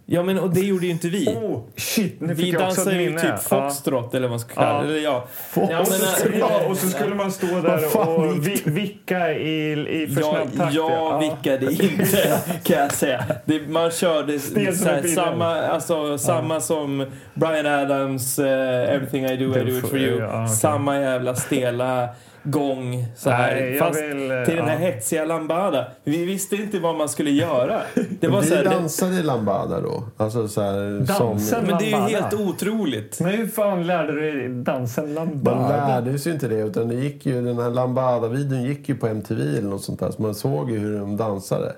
Speaker 3: Ja men och det gjorde ju inte vi.
Speaker 2: Oh, shit, nu fick
Speaker 3: Vi
Speaker 2: jag också ett
Speaker 3: dansar ju
Speaker 2: minne.
Speaker 3: typ foxtrot eller vad man ska kalla
Speaker 2: Ja.
Speaker 3: det. Eller ja.
Speaker 2: Ja,
Speaker 3: Ja,
Speaker 2: och, så
Speaker 3: men,
Speaker 2: skulle,
Speaker 3: äh,
Speaker 2: ja, och så skulle man stå där och vi, vicka i, i för
Speaker 3: Jag,
Speaker 2: snabb takt.
Speaker 3: jag vickade
Speaker 2: <laughs>
Speaker 3: inte kan jag säga. Det, man körde
Speaker 2: Stel som
Speaker 3: så här,
Speaker 2: en pinne.
Speaker 3: samma, alltså, samma som Brian Adams eh, Everything I Do I
Speaker 2: Det
Speaker 3: Do It
Speaker 2: får-
Speaker 3: For You.
Speaker 2: ja, okej.
Speaker 3: Samma jävla stela gång så här.
Speaker 2: Nej, jag
Speaker 3: Fast
Speaker 2: vill, eh,
Speaker 3: till den här
Speaker 2: ja.
Speaker 3: hetsiga lambada. Vi visste inte vad man skulle göra. Det var
Speaker 1: Vi
Speaker 3: så här, det,
Speaker 1: dansade lambada då. Alltså så här,
Speaker 2: Dansen?
Speaker 1: som...
Speaker 3: men det är ju
Speaker 2: Lambada.
Speaker 3: helt otroligt.
Speaker 2: Men hur fan lärde du dig dansen
Speaker 1: Man
Speaker 2: lambada?
Speaker 1: lärde sig ju inte det. Utan det gick ju, den här lambada-videon gick ju på MTV eller något sånt där. Så man såg ju hur de dansade.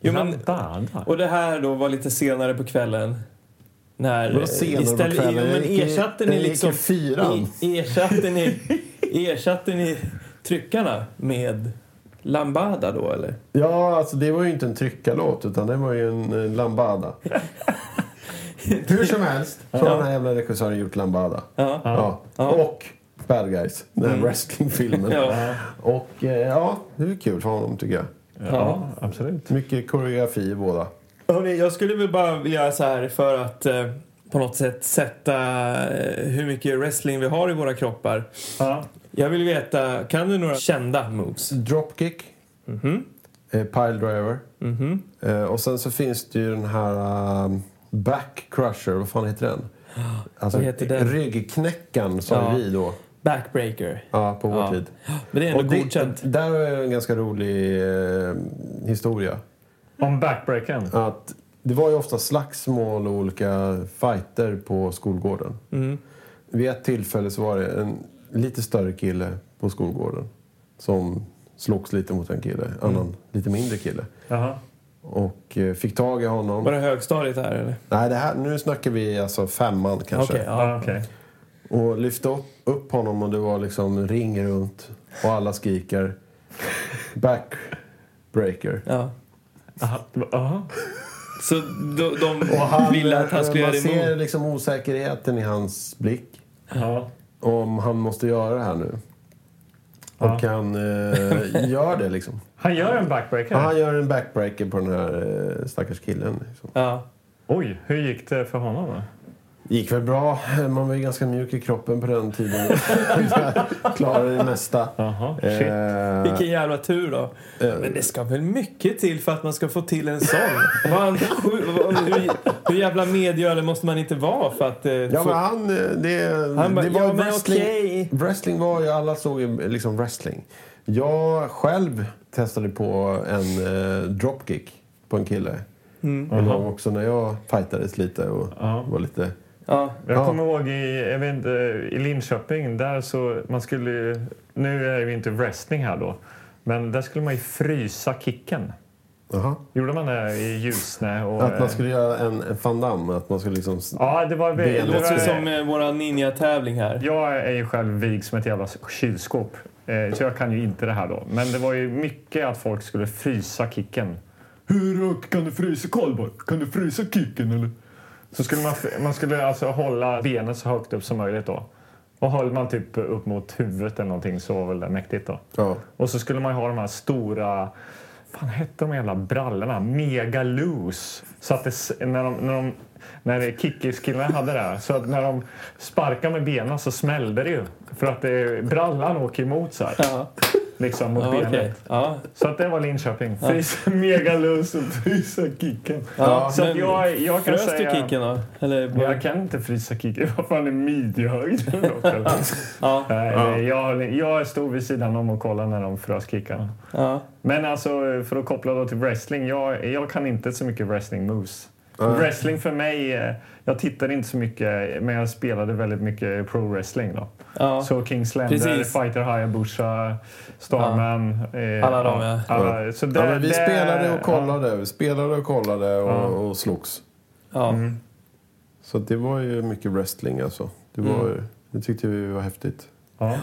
Speaker 3: Jo, men,
Speaker 2: Lambada?
Speaker 3: Och det här då var lite senare på kvällen. När, eh,
Speaker 1: Vadå senare på kvällen?
Speaker 3: Ja,
Speaker 1: Den gick
Speaker 3: men
Speaker 1: i-
Speaker 3: ersatte
Speaker 1: den
Speaker 3: ni
Speaker 1: gick i
Speaker 3: liksom...
Speaker 1: fyran.
Speaker 3: i- Ersatte ni, <laughs> ersatte ni tryckarna med Lambada då eller?
Speaker 1: Ja, alltså det var ju inte en tryckarlåt utan det var ju en, eh, lambada. <laughs> Hur som helst så har den här jävla regissören gjort lambada.
Speaker 3: Ja. Mm.
Speaker 1: Ja. Och Bad Guys, den här wrestlingfilmen.
Speaker 3: Ja.
Speaker 1: Och eh, ja, det är kul för honom tycker jag.
Speaker 3: ja.
Speaker 2: Absolut.
Speaker 1: Mycket koreografi i båda.
Speaker 3: Hörrni, jag skulle väl bara vilja så här för att eh, på något sätt sätta eh, hur mycket wrestling vi har i våra kroppar.
Speaker 2: Ja.
Speaker 3: Jag vill veta, kan du några kända moves?
Speaker 1: Dropkick.
Speaker 3: Mhm.
Speaker 1: Eh, pile driver. Eh, och sen så finns det ju den här um, back crusher, vad fan heter den? Alltså
Speaker 3: vad heter den?
Speaker 1: ryggknäckaren sa
Speaker 3: Ja.
Speaker 1: vi då.
Speaker 3: Backbreaker.
Speaker 1: Ja, på vår
Speaker 3: Ja.
Speaker 1: tid.
Speaker 3: Men det är
Speaker 1: Och
Speaker 3: ändå godkänt.
Speaker 1: det, där är en ganska rolig eh, historia.
Speaker 2: Om backbreaken?
Speaker 1: Att det var ju ofta slagsmål och olika fighter på skolgården.
Speaker 3: Mm.
Speaker 1: Vid ett tillfälle så var det en lite större kille på skolgården som slogs lite mot en
Speaker 3: Mm.
Speaker 1: kille, annan lite mindre kille.
Speaker 2: Jaha.
Speaker 1: Och eh, fick tag i honom.
Speaker 3: Var det högstadiet här eller?
Speaker 1: Nej, det här, nu snackar vi alltså femman kanske.
Speaker 3: Okej, ja.
Speaker 2: Ja, okej.
Speaker 1: Och lyfte upp, upp honom och det var liksom ring runt och alla skriker backbreaker.
Speaker 3: ja.
Speaker 2: Aha. Aha.
Speaker 3: Så de, de
Speaker 1: Och han,
Speaker 3: ville att han eh, skulle
Speaker 1: man
Speaker 3: göra det
Speaker 1: ser
Speaker 3: emot?
Speaker 1: liksom osäkerheten i hans blick.
Speaker 2: Ja.
Speaker 1: Om han måste göra det här nu.
Speaker 2: Ja.
Speaker 1: Och han eh, gör det liksom.
Speaker 2: Han gör en backbreaker?
Speaker 1: Ja, han gör en backbreaker på den här eh, stackars killen. Liksom.
Speaker 3: Ja.
Speaker 2: Oj, hur gick det för honom då?
Speaker 1: gick väl bra. Man var ju ganska mjuk i kroppen på den tiden. <laughs> Klarade det mesta.
Speaker 2: Jaha, shit.
Speaker 1: Eh,
Speaker 3: Vilken jävla tur då. Men det ska väl mycket till för att man ska få till en sån? Vad han- sju- vad- hur, hur jävla medgörlig måste man inte vara för att eh,
Speaker 1: Ja,
Speaker 3: få...
Speaker 1: men han... eh, Det,
Speaker 3: Han bara,
Speaker 1: det var
Speaker 3: "Ja,
Speaker 1: ju
Speaker 3: men
Speaker 1: wrestling.
Speaker 3: okej."
Speaker 1: Wrestling var ju... Alla såg ju liksom wrestling. Jag själv testade på en eh, dropkick på en kille.
Speaker 3: Mm.
Speaker 1: Och det var också när jag fightades lite och var lite...
Speaker 3: Ja.
Speaker 2: Jag kommer ihåg i, jag vet inte, i Linköping, där så man skulle ju- Nu är det ju inte wrestling här då, men där skulle man ju frysa kicken.
Speaker 1: Jaha.
Speaker 2: Gjorde man det i Ljusne? Och,
Speaker 1: Att man skulle göra en, en fandam. Att man skulle liksom... s-
Speaker 2: Ja, det var...
Speaker 1: Det
Speaker 3: Det
Speaker 2: Det
Speaker 3: låter
Speaker 2: var
Speaker 3: ju som eh, våra ninja-tävling här.
Speaker 2: jag är ju själv vig som ett jävla kylskåp, eh, så jag kan ju inte det här då. Men det var ju mycket att folk skulle frysa kicken. Hur rakt kan du frysa Karlborg? Kan du frysa kicken eller? Så skulle man, man skulle alltså hålla benet så högt upp som möjligt då. Och höll man typ upp mot huvudet eller någonting så var väl det mäktigt då.
Speaker 1: Ja.
Speaker 2: Och så skulle man ju ha de här stora, fan hette de jävla brallorna? Mega loose. Så att det, s- när de, när de när det- kickerskillarna hade det här, så att när de sparkar med benen så smällde det ju. För att det, brallan åker emot så här.
Speaker 3: Ja.
Speaker 2: Liksom mot
Speaker 3: Ja,
Speaker 2: benet.
Speaker 3: okej. ja.
Speaker 2: Så att det var Linköping. Frysa mega loose och frysa kicken.
Speaker 3: Ja,
Speaker 2: så att
Speaker 3: men
Speaker 2: jag, jag kan
Speaker 3: Frös
Speaker 2: säga...
Speaker 3: du kicken då? Eller
Speaker 2: Men
Speaker 3: bara...
Speaker 2: Jag kan inte frysa kicken. Vad fan är
Speaker 3: <laughs>
Speaker 2: midjehöjden? då, eller?
Speaker 3: Ja.
Speaker 2: Nej, nej, jag, jag stod vid sidan om och kollade när de frös kickarna.
Speaker 3: Ja.
Speaker 2: Men alltså, för att koppla då till wrestling. Jag, jag kan inte så mycket wrestling moves. Wrestling för mig, eh, jag tittade inte så mycket men jag spelade väldigt mycket pro-wrestling då.
Speaker 3: Ja.
Speaker 2: Så Kingslander,
Speaker 3: Precis.
Speaker 2: Fighter Hayabusa, Starman. eh,
Speaker 3: Alla de, ja.
Speaker 2: alla. Så
Speaker 1: Ja,
Speaker 2: där-
Speaker 1: men vi
Speaker 2: där-
Speaker 1: spelade och
Speaker 2: ja.
Speaker 1: kollade. Vi spelade och kollade och, och slogs.
Speaker 3: Ja.
Speaker 1: Så att det var ju mycket wrestling alltså. Det,
Speaker 3: Mm.
Speaker 1: var, det tyckte vi var häftigt.
Speaker 2: Ja.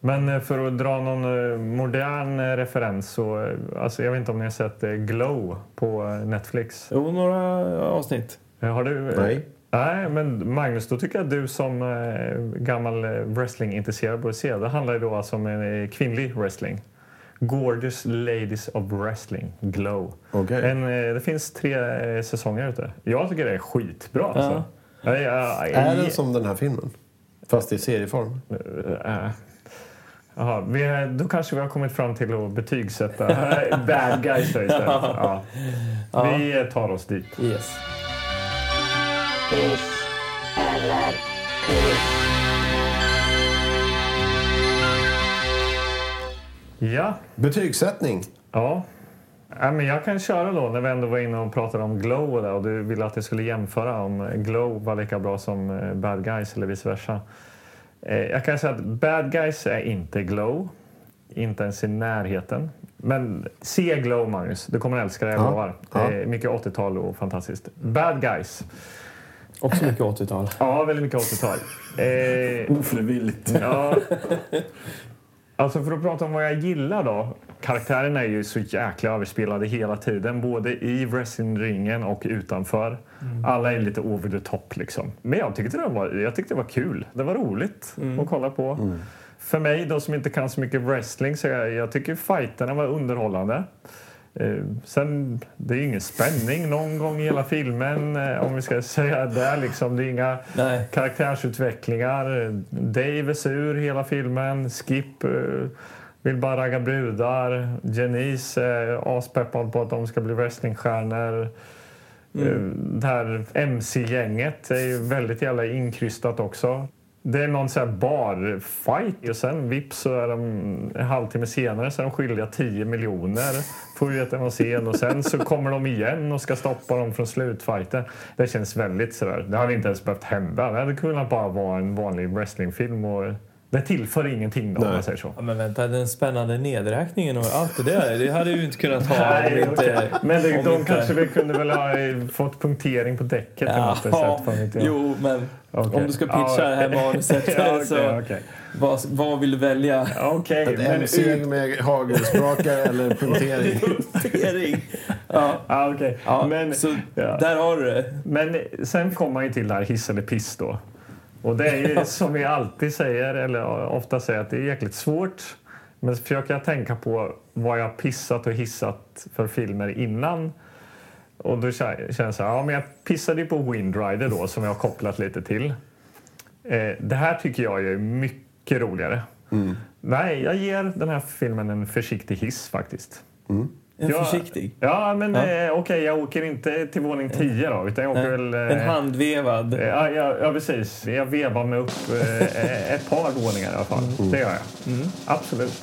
Speaker 2: Men eh, för att dra någon eh, modern eh, referens så, eh, alltså jag vet inte om ni har sett eh, Glow på eh, Netflix?
Speaker 3: Jo, några avsnitt.
Speaker 2: Eh, Har du? eh,
Speaker 1: Nej.
Speaker 2: Nej, men Magnus, då tycker jag att du som eh, gammal eh, wrestlingintresserad borde se. Det handlar ju då alltså om en eh, kvinnlig wrestling. Gorgeous Ladies of Wrestling, Glow.
Speaker 1: Okej.
Speaker 2: En, eh, det finns tre eh, säsonger ute. Jag tycker det är skitbra. Alltså. Jag- jag- jag-
Speaker 1: Är den som den här filmen? Fast i serieform.
Speaker 2: Eh, Jaha, vi, har- då kanske vi har kommit fram till att <laughs> betygsätta bad guys då istället. Ja. Vi eh, tar oss dit.
Speaker 3: Yes.
Speaker 2: Ja,
Speaker 1: Betygssättning.
Speaker 2: ja. Ja, men jag kan köra då när vi ändå var inne och pratade om Glow och, det, och du ville att jag skulle jämföra om Glow var lika bra som eh, Bad Guys eller vice versa. Eh, Jag kan säga att Bad Guys är inte Glow, inte ens i närheten. Men se Glow, Magnus. Du kommer älska det, jag lovar. Det är mycket 80-tal och fantastiskt. Bad Guys.
Speaker 3: Också
Speaker 2: <laughs>
Speaker 3: mycket 80-tal.
Speaker 2: Ja, väldigt mycket 80-tal. Eh,
Speaker 10: Ofrivilligt.
Speaker 2: ja. Alltså för att prata om vad jag gillar då. Karaktären är ju så jäkla överspelade hela tiden, både i wrestlingringen och utanför. Alla är lite over the top liksom. Men jag tyckte det var, jag tyckte det var kul. Det var roligt att kolla på. För mig då som inte kan så mycket wrestling så jag, jag tycker fighterna var underhållande. Eh, sen, det är ju ingen spänning någon gång i hela filmen eh, om vi ska säga det. Liksom, det är inga
Speaker 3: Nej.
Speaker 2: karaktärsutvecklingar. Dave är sur hela filmen. Skip eh, vill bara ragga brudar. Janice är aspeppad på att de ska bli wrestlingstjärnor. Eh, Det här MC-gänget är ju väldigt jävla inkrystat också. Det är någon sån här barfight och sen vips så är de en halvtimme senare så är de skyldiga 10 miljoner. Får vi veta någon scen och sen så kommer de igen och ska stoppa dem från slutfighten. Det känns väldigt sådär. Det hade inte ens behövt hända. Det hade kunnat bara vara en vanlig wrestlingfilm och det tillför ingenting då, om man säger så.
Speaker 3: Ja, men vänta, den spännande nedräkningen och allt det där. Det hade du inte kunnat ha. eh, om
Speaker 2: Nej,
Speaker 3: inte,
Speaker 2: Men det,
Speaker 3: om
Speaker 2: de
Speaker 3: inte-
Speaker 2: kanske väl kunde väl ha eh, fått punktering på däcket på något
Speaker 3: Ja,
Speaker 2: sätt. fan vet jag.
Speaker 3: jo, men
Speaker 2: Okej.
Speaker 3: om du ska pitcha
Speaker 2: <laughs> Ja,
Speaker 3: det här
Speaker 2: okej.
Speaker 3: manuset
Speaker 2: ja,
Speaker 3: så
Speaker 2: okej, okej.
Speaker 3: vad, vad vill du välja?
Speaker 2: Okej, men ut...
Speaker 1: MC med hagelsprakar eller <laughs> punktering.
Speaker 3: Punktering. ja,
Speaker 2: Ah, okej.
Speaker 3: <laughs> ja,
Speaker 2: men,
Speaker 3: så
Speaker 2: ja.
Speaker 3: där har du det.
Speaker 2: men sen kommer man ju till det här hiss eller piss då. Och det är ju som vi alltid säger, eller ofta säger, att det är jäkligt svårt. Men så försöker jag tänka på vad jag pissat och hissat för filmer innan. Och då kä- känns det ja men jag pissade ju på Windrider då som jag har kopplat lite till. Eh, det här tycker jag är mycket roligare. Nej, jag ger den här filmen en försiktig hiss faktiskt.
Speaker 3: En
Speaker 2: Ja.
Speaker 3: försiktig.
Speaker 2: Ja, men eh, okej, jag åker inte till våning 10 då, utan jag åker väl... eh,
Speaker 3: En handvevad.
Speaker 2: eh, Ja, ja, ja, precis. Jag vevar mig upp eh, ett par våningar i alla fall.
Speaker 3: Mm.
Speaker 2: Det gör jag. Absolut.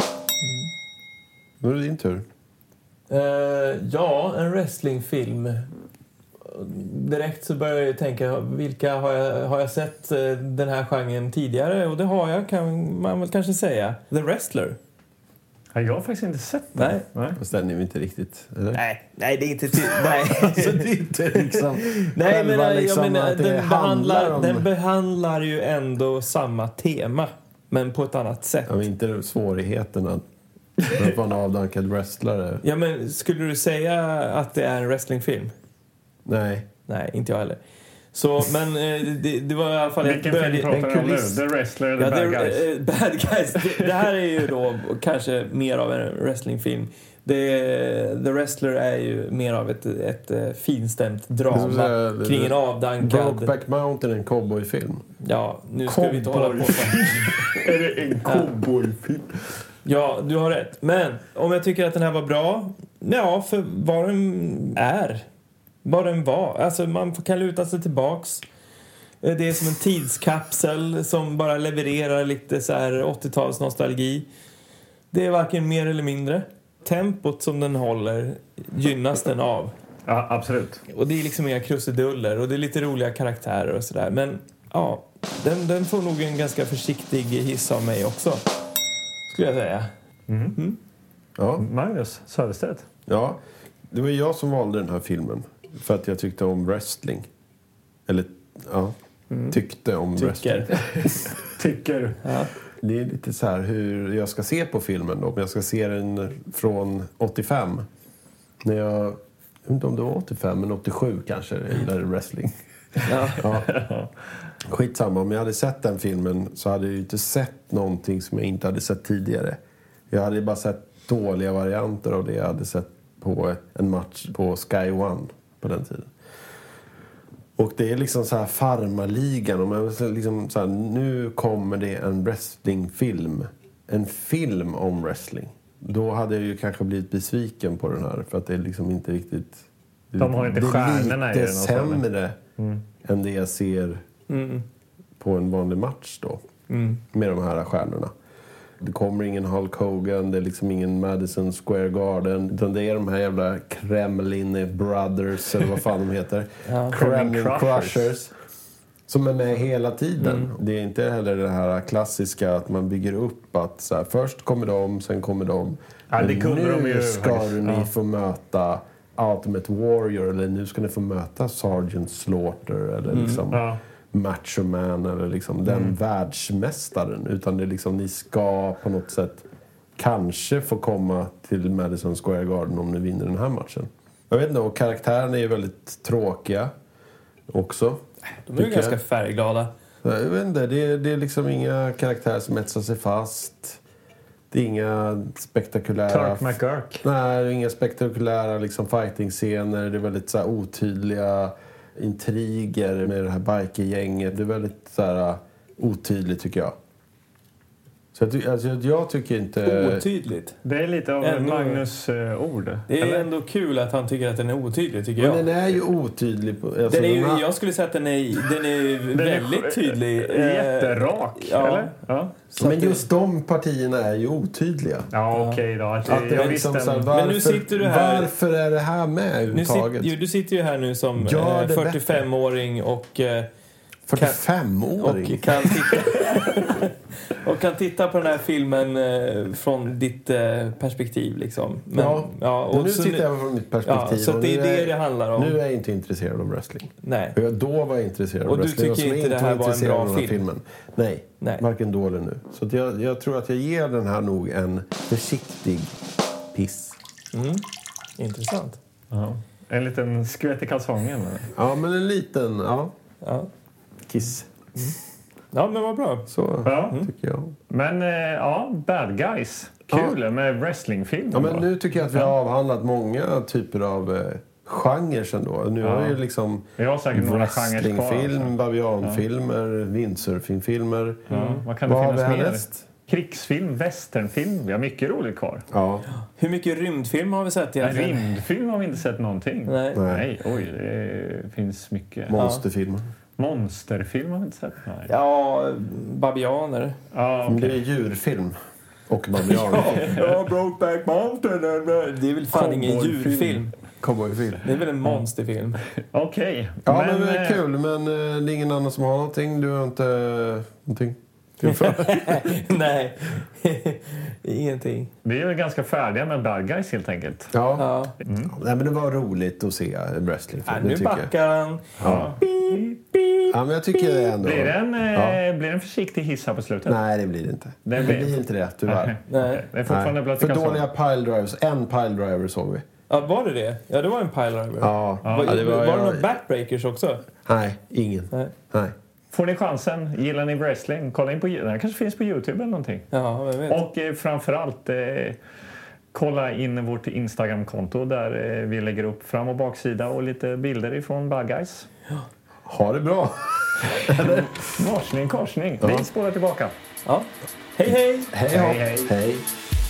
Speaker 1: Nu är det din tur.
Speaker 3: Eh, ja, en wrestlingfilm. Direkt så börjar jag ju tänka, vilka har jag, har jag sett eh, den här genren tidigare? Och det har jag, kan man väl kanske säga. The Wrestler.
Speaker 2: Ja, jag har faktiskt inte sett det.
Speaker 3: Nej.
Speaker 2: Nej.
Speaker 1: Fast den är vi inte riktigt... Eller?
Speaker 3: Nej, nej det är inte... <laughs> Ty- nej.
Speaker 1: Alltså, det är inte <laughs> liksom...
Speaker 3: nej, men
Speaker 1: själva
Speaker 3: jag,
Speaker 1: liksom
Speaker 3: menar,
Speaker 1: att det
Speaker 3: den
Speaker 1: handlar
Speaker 3: behandlar,
Speaker 1: om-
Speaker 3: den behandlar ju ändå samma tema, men på ett annat sätt.
Speaker 1: Ja, men inte svårigheten <laughs> att, att vara en avdankad wrestlare.
Speaker 3: Ja, men skulle du säga att det är en wrestlingfilm?
Speaker 1: Nej.
Speaker 3: Nej, inte jag heller. Så, men eh, det, det var i alla fall... jag
Speaker 2: Vilken
Speaker 3: började-
Speaker 2: film pratar
Speaker 3: en
Speaker 2: vi om nu?
Speaker 3: kuliss-
Speaker 2: The Wrestler eller
Speaker 3: Ja,
Speaker 2: Bad
Speaker 3: det-
Speaker 2: Guys?
Speaker 3: eh, bad guys. Det, det här är ju då kanske mer av en wrestlingfilm. Det, The Wrestler är ju mer av ett, ett eh, finstämt
Speaker 1: Det är som
Speaker 3: drama
Speaker 1: så här-
Speaker 3: kring en avdankad...
Speaker 1: Brokeback Mountain är en cowboyfilm.
Speaker 3: Ja, nu ska vi inte hålla på så.
Speaker 2: Är det en cowboyfilm?
Speaker 3: Ja, du har rätt. Men om jag tycker att den här var bra? Ja, för vad den är. Vad den var. Alltså, man kan luta sig tillbaks. Eh, Det är som en tidskapsel som bara levererar lite så här 80-tals nostalgi. Det är varken mer eller mindre. Tempot som den håller gynnas den av.
Speaker 2: Ja, absolut.
Speaker 3: Och det är liksom inga krusiduller och det är lite roliga karaktärer och sådär. Men ja, den, den får nog en ganska försiktig hiss av mig också. Skulle jag säga.
Speaker 1: Ja.
Speaker 2: Magnus Söderstedt.
Speaker 1: ja. Det var jag som valde den här filmen. För att jag tyckte om wrestling. Eller, ja. Tyckte om wrestling.
Speaker 3: Tycker.
Speaker 2: Tycker.
Speaker 1: Det är lite så här hur jag ska se på filmen. Då. Om jag ska se den från 85. När jag, jag vet inte om det var 85, men 87 kanske jag gillade wrestling.
Speaker 3: Ja.
Speaker 1: Skitsamma, om jag hade sett den filmen så hade jag ju inte sett någonting som jag inte hade sett tidigare. Jag hade ju bara sett dåliga varianter av det jag hade sett på en match på Sky One på den tiden. Och det är liksom så här farmarligan. Och man måste liksom så här, nu kommer det en wrestlingfilm. En film om wrestling. Då hade jag ju kanske blivit besviken på den här. För att det är liksom inte riktigt...
Speaker 2: De har inte
Speaker 1: det är
Speaker 2: stjärnorna i
Speaker 1: lite
Speaker 2: den alltså. Mm. och så, eller?
Speaker 1: sämre än det jag ser på en vanlig match då.
Speaker 2: Mm.
Speaker 1: Med de här stjärnorna. Det kommer ingen Hulk Hogan, det är liksom ingen Madison Square Garden. Utan det är de här jävla Kremlin Brothers, eller vad fan de
Speaker 2: <laughs>
Speaker 1: heter. Kremlin
Speaker 2: Kremlin Crushers. Mm.
Speaker 1: Crushers. Som är med hela tiden. Det är inte heller det här klassiska att man bygger upp att så här, först kommer de, sen kommer de.
Speaker 2: Ja, det
Speaker 1: Men
Speaker 2: kunde
Speaker 1: nu
Speaker 2: de ju
Speaker 1: ska
Speaker 2: faktiskt.
Speaker 1: ni
Speaker 2: Ja.
Speaker 1: få möta Ultimate Warrior eller nu ska ni få möta Sergeant Slaughter eller liksom
Speaker 2: Mm. Ja. Mm.
Speaker 1: Macho Man eller liksom den världsmästaren. Utan det är liksom, ni ska på något sätt kanske få komma till Madison Square Garden om ni vinner den här matchen. Jag vet inte, och karaktärerna är väldigt tråkiga också.
Speaker 3: De är ju
Speaker 1: tycker
Speaker 3: ganska
Speaker 1: jag.
Speaker 3: färgglada.
Speaker 1: Jag vet inte, det är, det är liksom inga karaktärer som etsar sig fast. Det är inga spektakulära...
Speaker 2: Clark McGurk.
Speaker 1: Nej, det är inga spektakulära liksom, fighting-scener. Det är väldigt så här, otydliga intriger med det här bikergänget. Det är väldigt så här, otydligt, tycker jag. Så jag, ty- alltså, jag- jag tycker inte...
Speaker 3: Otydligt.
Speaker 2: Det är lite av
Speaker 3: Ändå-
Speaker 2: Magnus eh, ord.
Speaker 3: Det är
Speaker 2: eller?
Speaker 3: ändå kul att han tycker att den är otydlig, tycker
Speaker 1: Men
Speaker 3: jag.
Speaker 1: den är ju otydlig. På, alltså,
Speaker 3: Den är ju,
Speaker 1: den här-
Speaker 3: jag skulle säga att den är, den
Speaker 1: <laughs>
Speaker 3: är
Speaker 2: Den är
Speaker 3: väldigt
Speaker 2: sj-
Speaker 3: tydlig.
Speaker 2: eh, Jätterak,
Speaker 3: ja.
Speaker 2: eller? Ja,
Speaker 3: Så
Speaker 1: men
Speaker 3: att det-
Speaker 1: just de partierna är ju otydliga.
Speaker 2: ja okej då. Att,
Speaker 1: Att det
Speaker 2: jag
Speaker 1: är
Speaker 2: visste
Speaker 1: liksom, så här,
Speaker 2: en-
Speaker 1: varför,
Speaker 3: nu sitter du här-
Speaker 1: varför är det här med
Speaker 3: Nu sit,
Speaker 1: överhuvudtaget?
Speaker 3: jo, du sitter ju här nu som
Speaker 1: Gör
Speaker 3: eh,
Speaker 1: det
Speaker 3: 45-åring och, eh,
Speaker 1: 45-åring? <laughs>
Speaker 3: och, kan titta, och kan titta på den här filmen eh, från ditt eh, perspektiv. Liksom. Men,
Speaker 1: Ja,
Speaker 3: och
Speaker 1: nu
Speaker 3: så
Speaker 1: tittar jag från mitt
Speaker 3: ja,
Speaker 1: perspektiv.
Speaker 3: Så
Speaker 1: och
Speaker 3: att det
Speaker 1: nu
Speaker 3: är det det handlar om.
Speaker 1: Nu är jag inte intresserad av wrestling.
Speaker 3: Nej.
Speaker 1: Och jag då var jag intresserad
Speaker 3: Och
Speaker 1: av
Speaker 3: du
Speaker 1: wrestling.
Speaker 3: tycker
Speaker 1: som
Speaker 3: inte det här var en
Speaker 1: intresserad
Speaker 3: bra
Speaker 1: av den här
Speaker 3: film?
Speaker 1: Filmen. Nej,
Speaker 3: Nej.
Speaker 1: varken då eller nu. Så att jag, jag tror att jag ger den här nog en försiktig piss.
Speaker 3: Intressant.
Speaker 2: ja. En liten skvätt i kalsongen. eller?
Speaker 1: Ja, men en liten ja,
Speaker 3: Ja.
Speaker 1: kiss.
Speaker 3: ja, men vad bra.
Speaker 1: Så
Speaker 2: Ja.
Speaker 3: Mm.
Speaker 1: tycker jag.
Speaker 2: Men eh, ja, Bad Guys. Kul med wrestlingfilm.
Speaker 1: Ja, men nu tycker jag att vi har avhandlat många typer av eh, genrer ändå. Nu har vi ju liksom
Speaker 2: Vi har säkert några genrer kvar.
Speaker 1: wrestlingfilm,
Speaker 2: alltså.
Speaker 1: bavianfilmer, windsurfingfilmer.
Speaker 2: Ja, Vad kan det
Speaker 1: Vad har vi
Speaker 2: finnas mer?
Speaker 1: härnäst?
Speaker 2: Krigsfilm, westernfilm. Vi har mycket roligt kvar.
Speaker 1: Ja.
Speaker 3: Hur mycket rymdfilm har vi sett egentligen?
Speaker 2: Rymdfilm har vi inte sett någonting.
Speaker 3: Nej.
Speaker 2: Nej, oj, det finns mycket.
Speaker 1: Monsterfilmer.
Speaker 2: Monsterfilm har vi inte sett. Nej.
Speaker 3: Ja, babianer.
Speaker 2: Ja,
Speaker 1: Men Det är djurfilm. Och bavianfilm.
Speaker 3: Ja, Brokeback Mountain.
Speaker 1: eh,
Speaker 3: Det är väl fan ingen
Speaker 2: Cowboyfilm.
Speaker 3: djurfilm.
Speaker 1: Cowboyfilm.
Speaker 3: Det är väl en monsterfilm. <laughs>
Speaker 2: Okej.
Speaker 1: Ja, men, det är
Speaker 2: eh,
Speaker 1: kul. Men eh, det är ingen annan som har någonting. Du har inte eh, någonting?
Speaker 3: Nej, <laughs> ingenting.
Speaker 2: Vi är väl ganska färdiga med Bad Guys helt enkelt.
Speaker 1: <laughs> Ja. Mm.
Speaker 3: Ja.
Speaker 1: Nej, men det var roligt att se en wrestlingfilm.
Speaker 3: Ja,
Speaker 1: det
Speaker 3: nu
Speaker 1: tycker jag.
Speaker 3: backar han.
Speaker 1: Ja. ja, men jag tycker det ändå.
Speaker 2: Blir det en, eh, blir det en försiktig hiss här på slutet?
Speaker 1: Nej, det blir det inte.
Speaker 2: Det
Speaker 1: Det
Speaker 2: blir-
Speaker 1: blir inte det, tyvärr.
Speaker 3: Nej.
Speaker 2: Det är fortfarande
Speaker 1: Nej.
Speaker 2: blött i
Speaker 1: För
Speaker 2: kalsongen.
Speaker 1: dåliga piledrivers. En piledriver såg vi.
Speaker 3: Ja, var det det? Ja, det var en piledriver.
Speaker 1: Ja.
Speaker 3: Var,
Speaker 1: Ja,
Speaker 3: det var,
Speaker 1: jag-
Speaker 3: det några backbreakers också?
Speaker 1: Nej, ingen.
Speaker 3: Nej.
Speaker 1: Nej.
Speaker 2: Får ni chansen, gillar ni wrestling, kolla in på Den här kanske finns på Youtube eller någonting.
Speaker 3: Ja, vem vet.
Speaker 2: Och eh, framförallt eh, kolla in vårt Instagram-konto där eh, vi lägger upp fram och baksida och lite bilder ifrån Bad Guys.
Speaker 1: Ha det bra.
Speaker 2: Morsning, korsning. Vi spårar tillbaka.
Speaker 3: Ja. Hej, hej!
Speaker 1: Hej,
Speaker 2: hej.
Speaker 1: hej.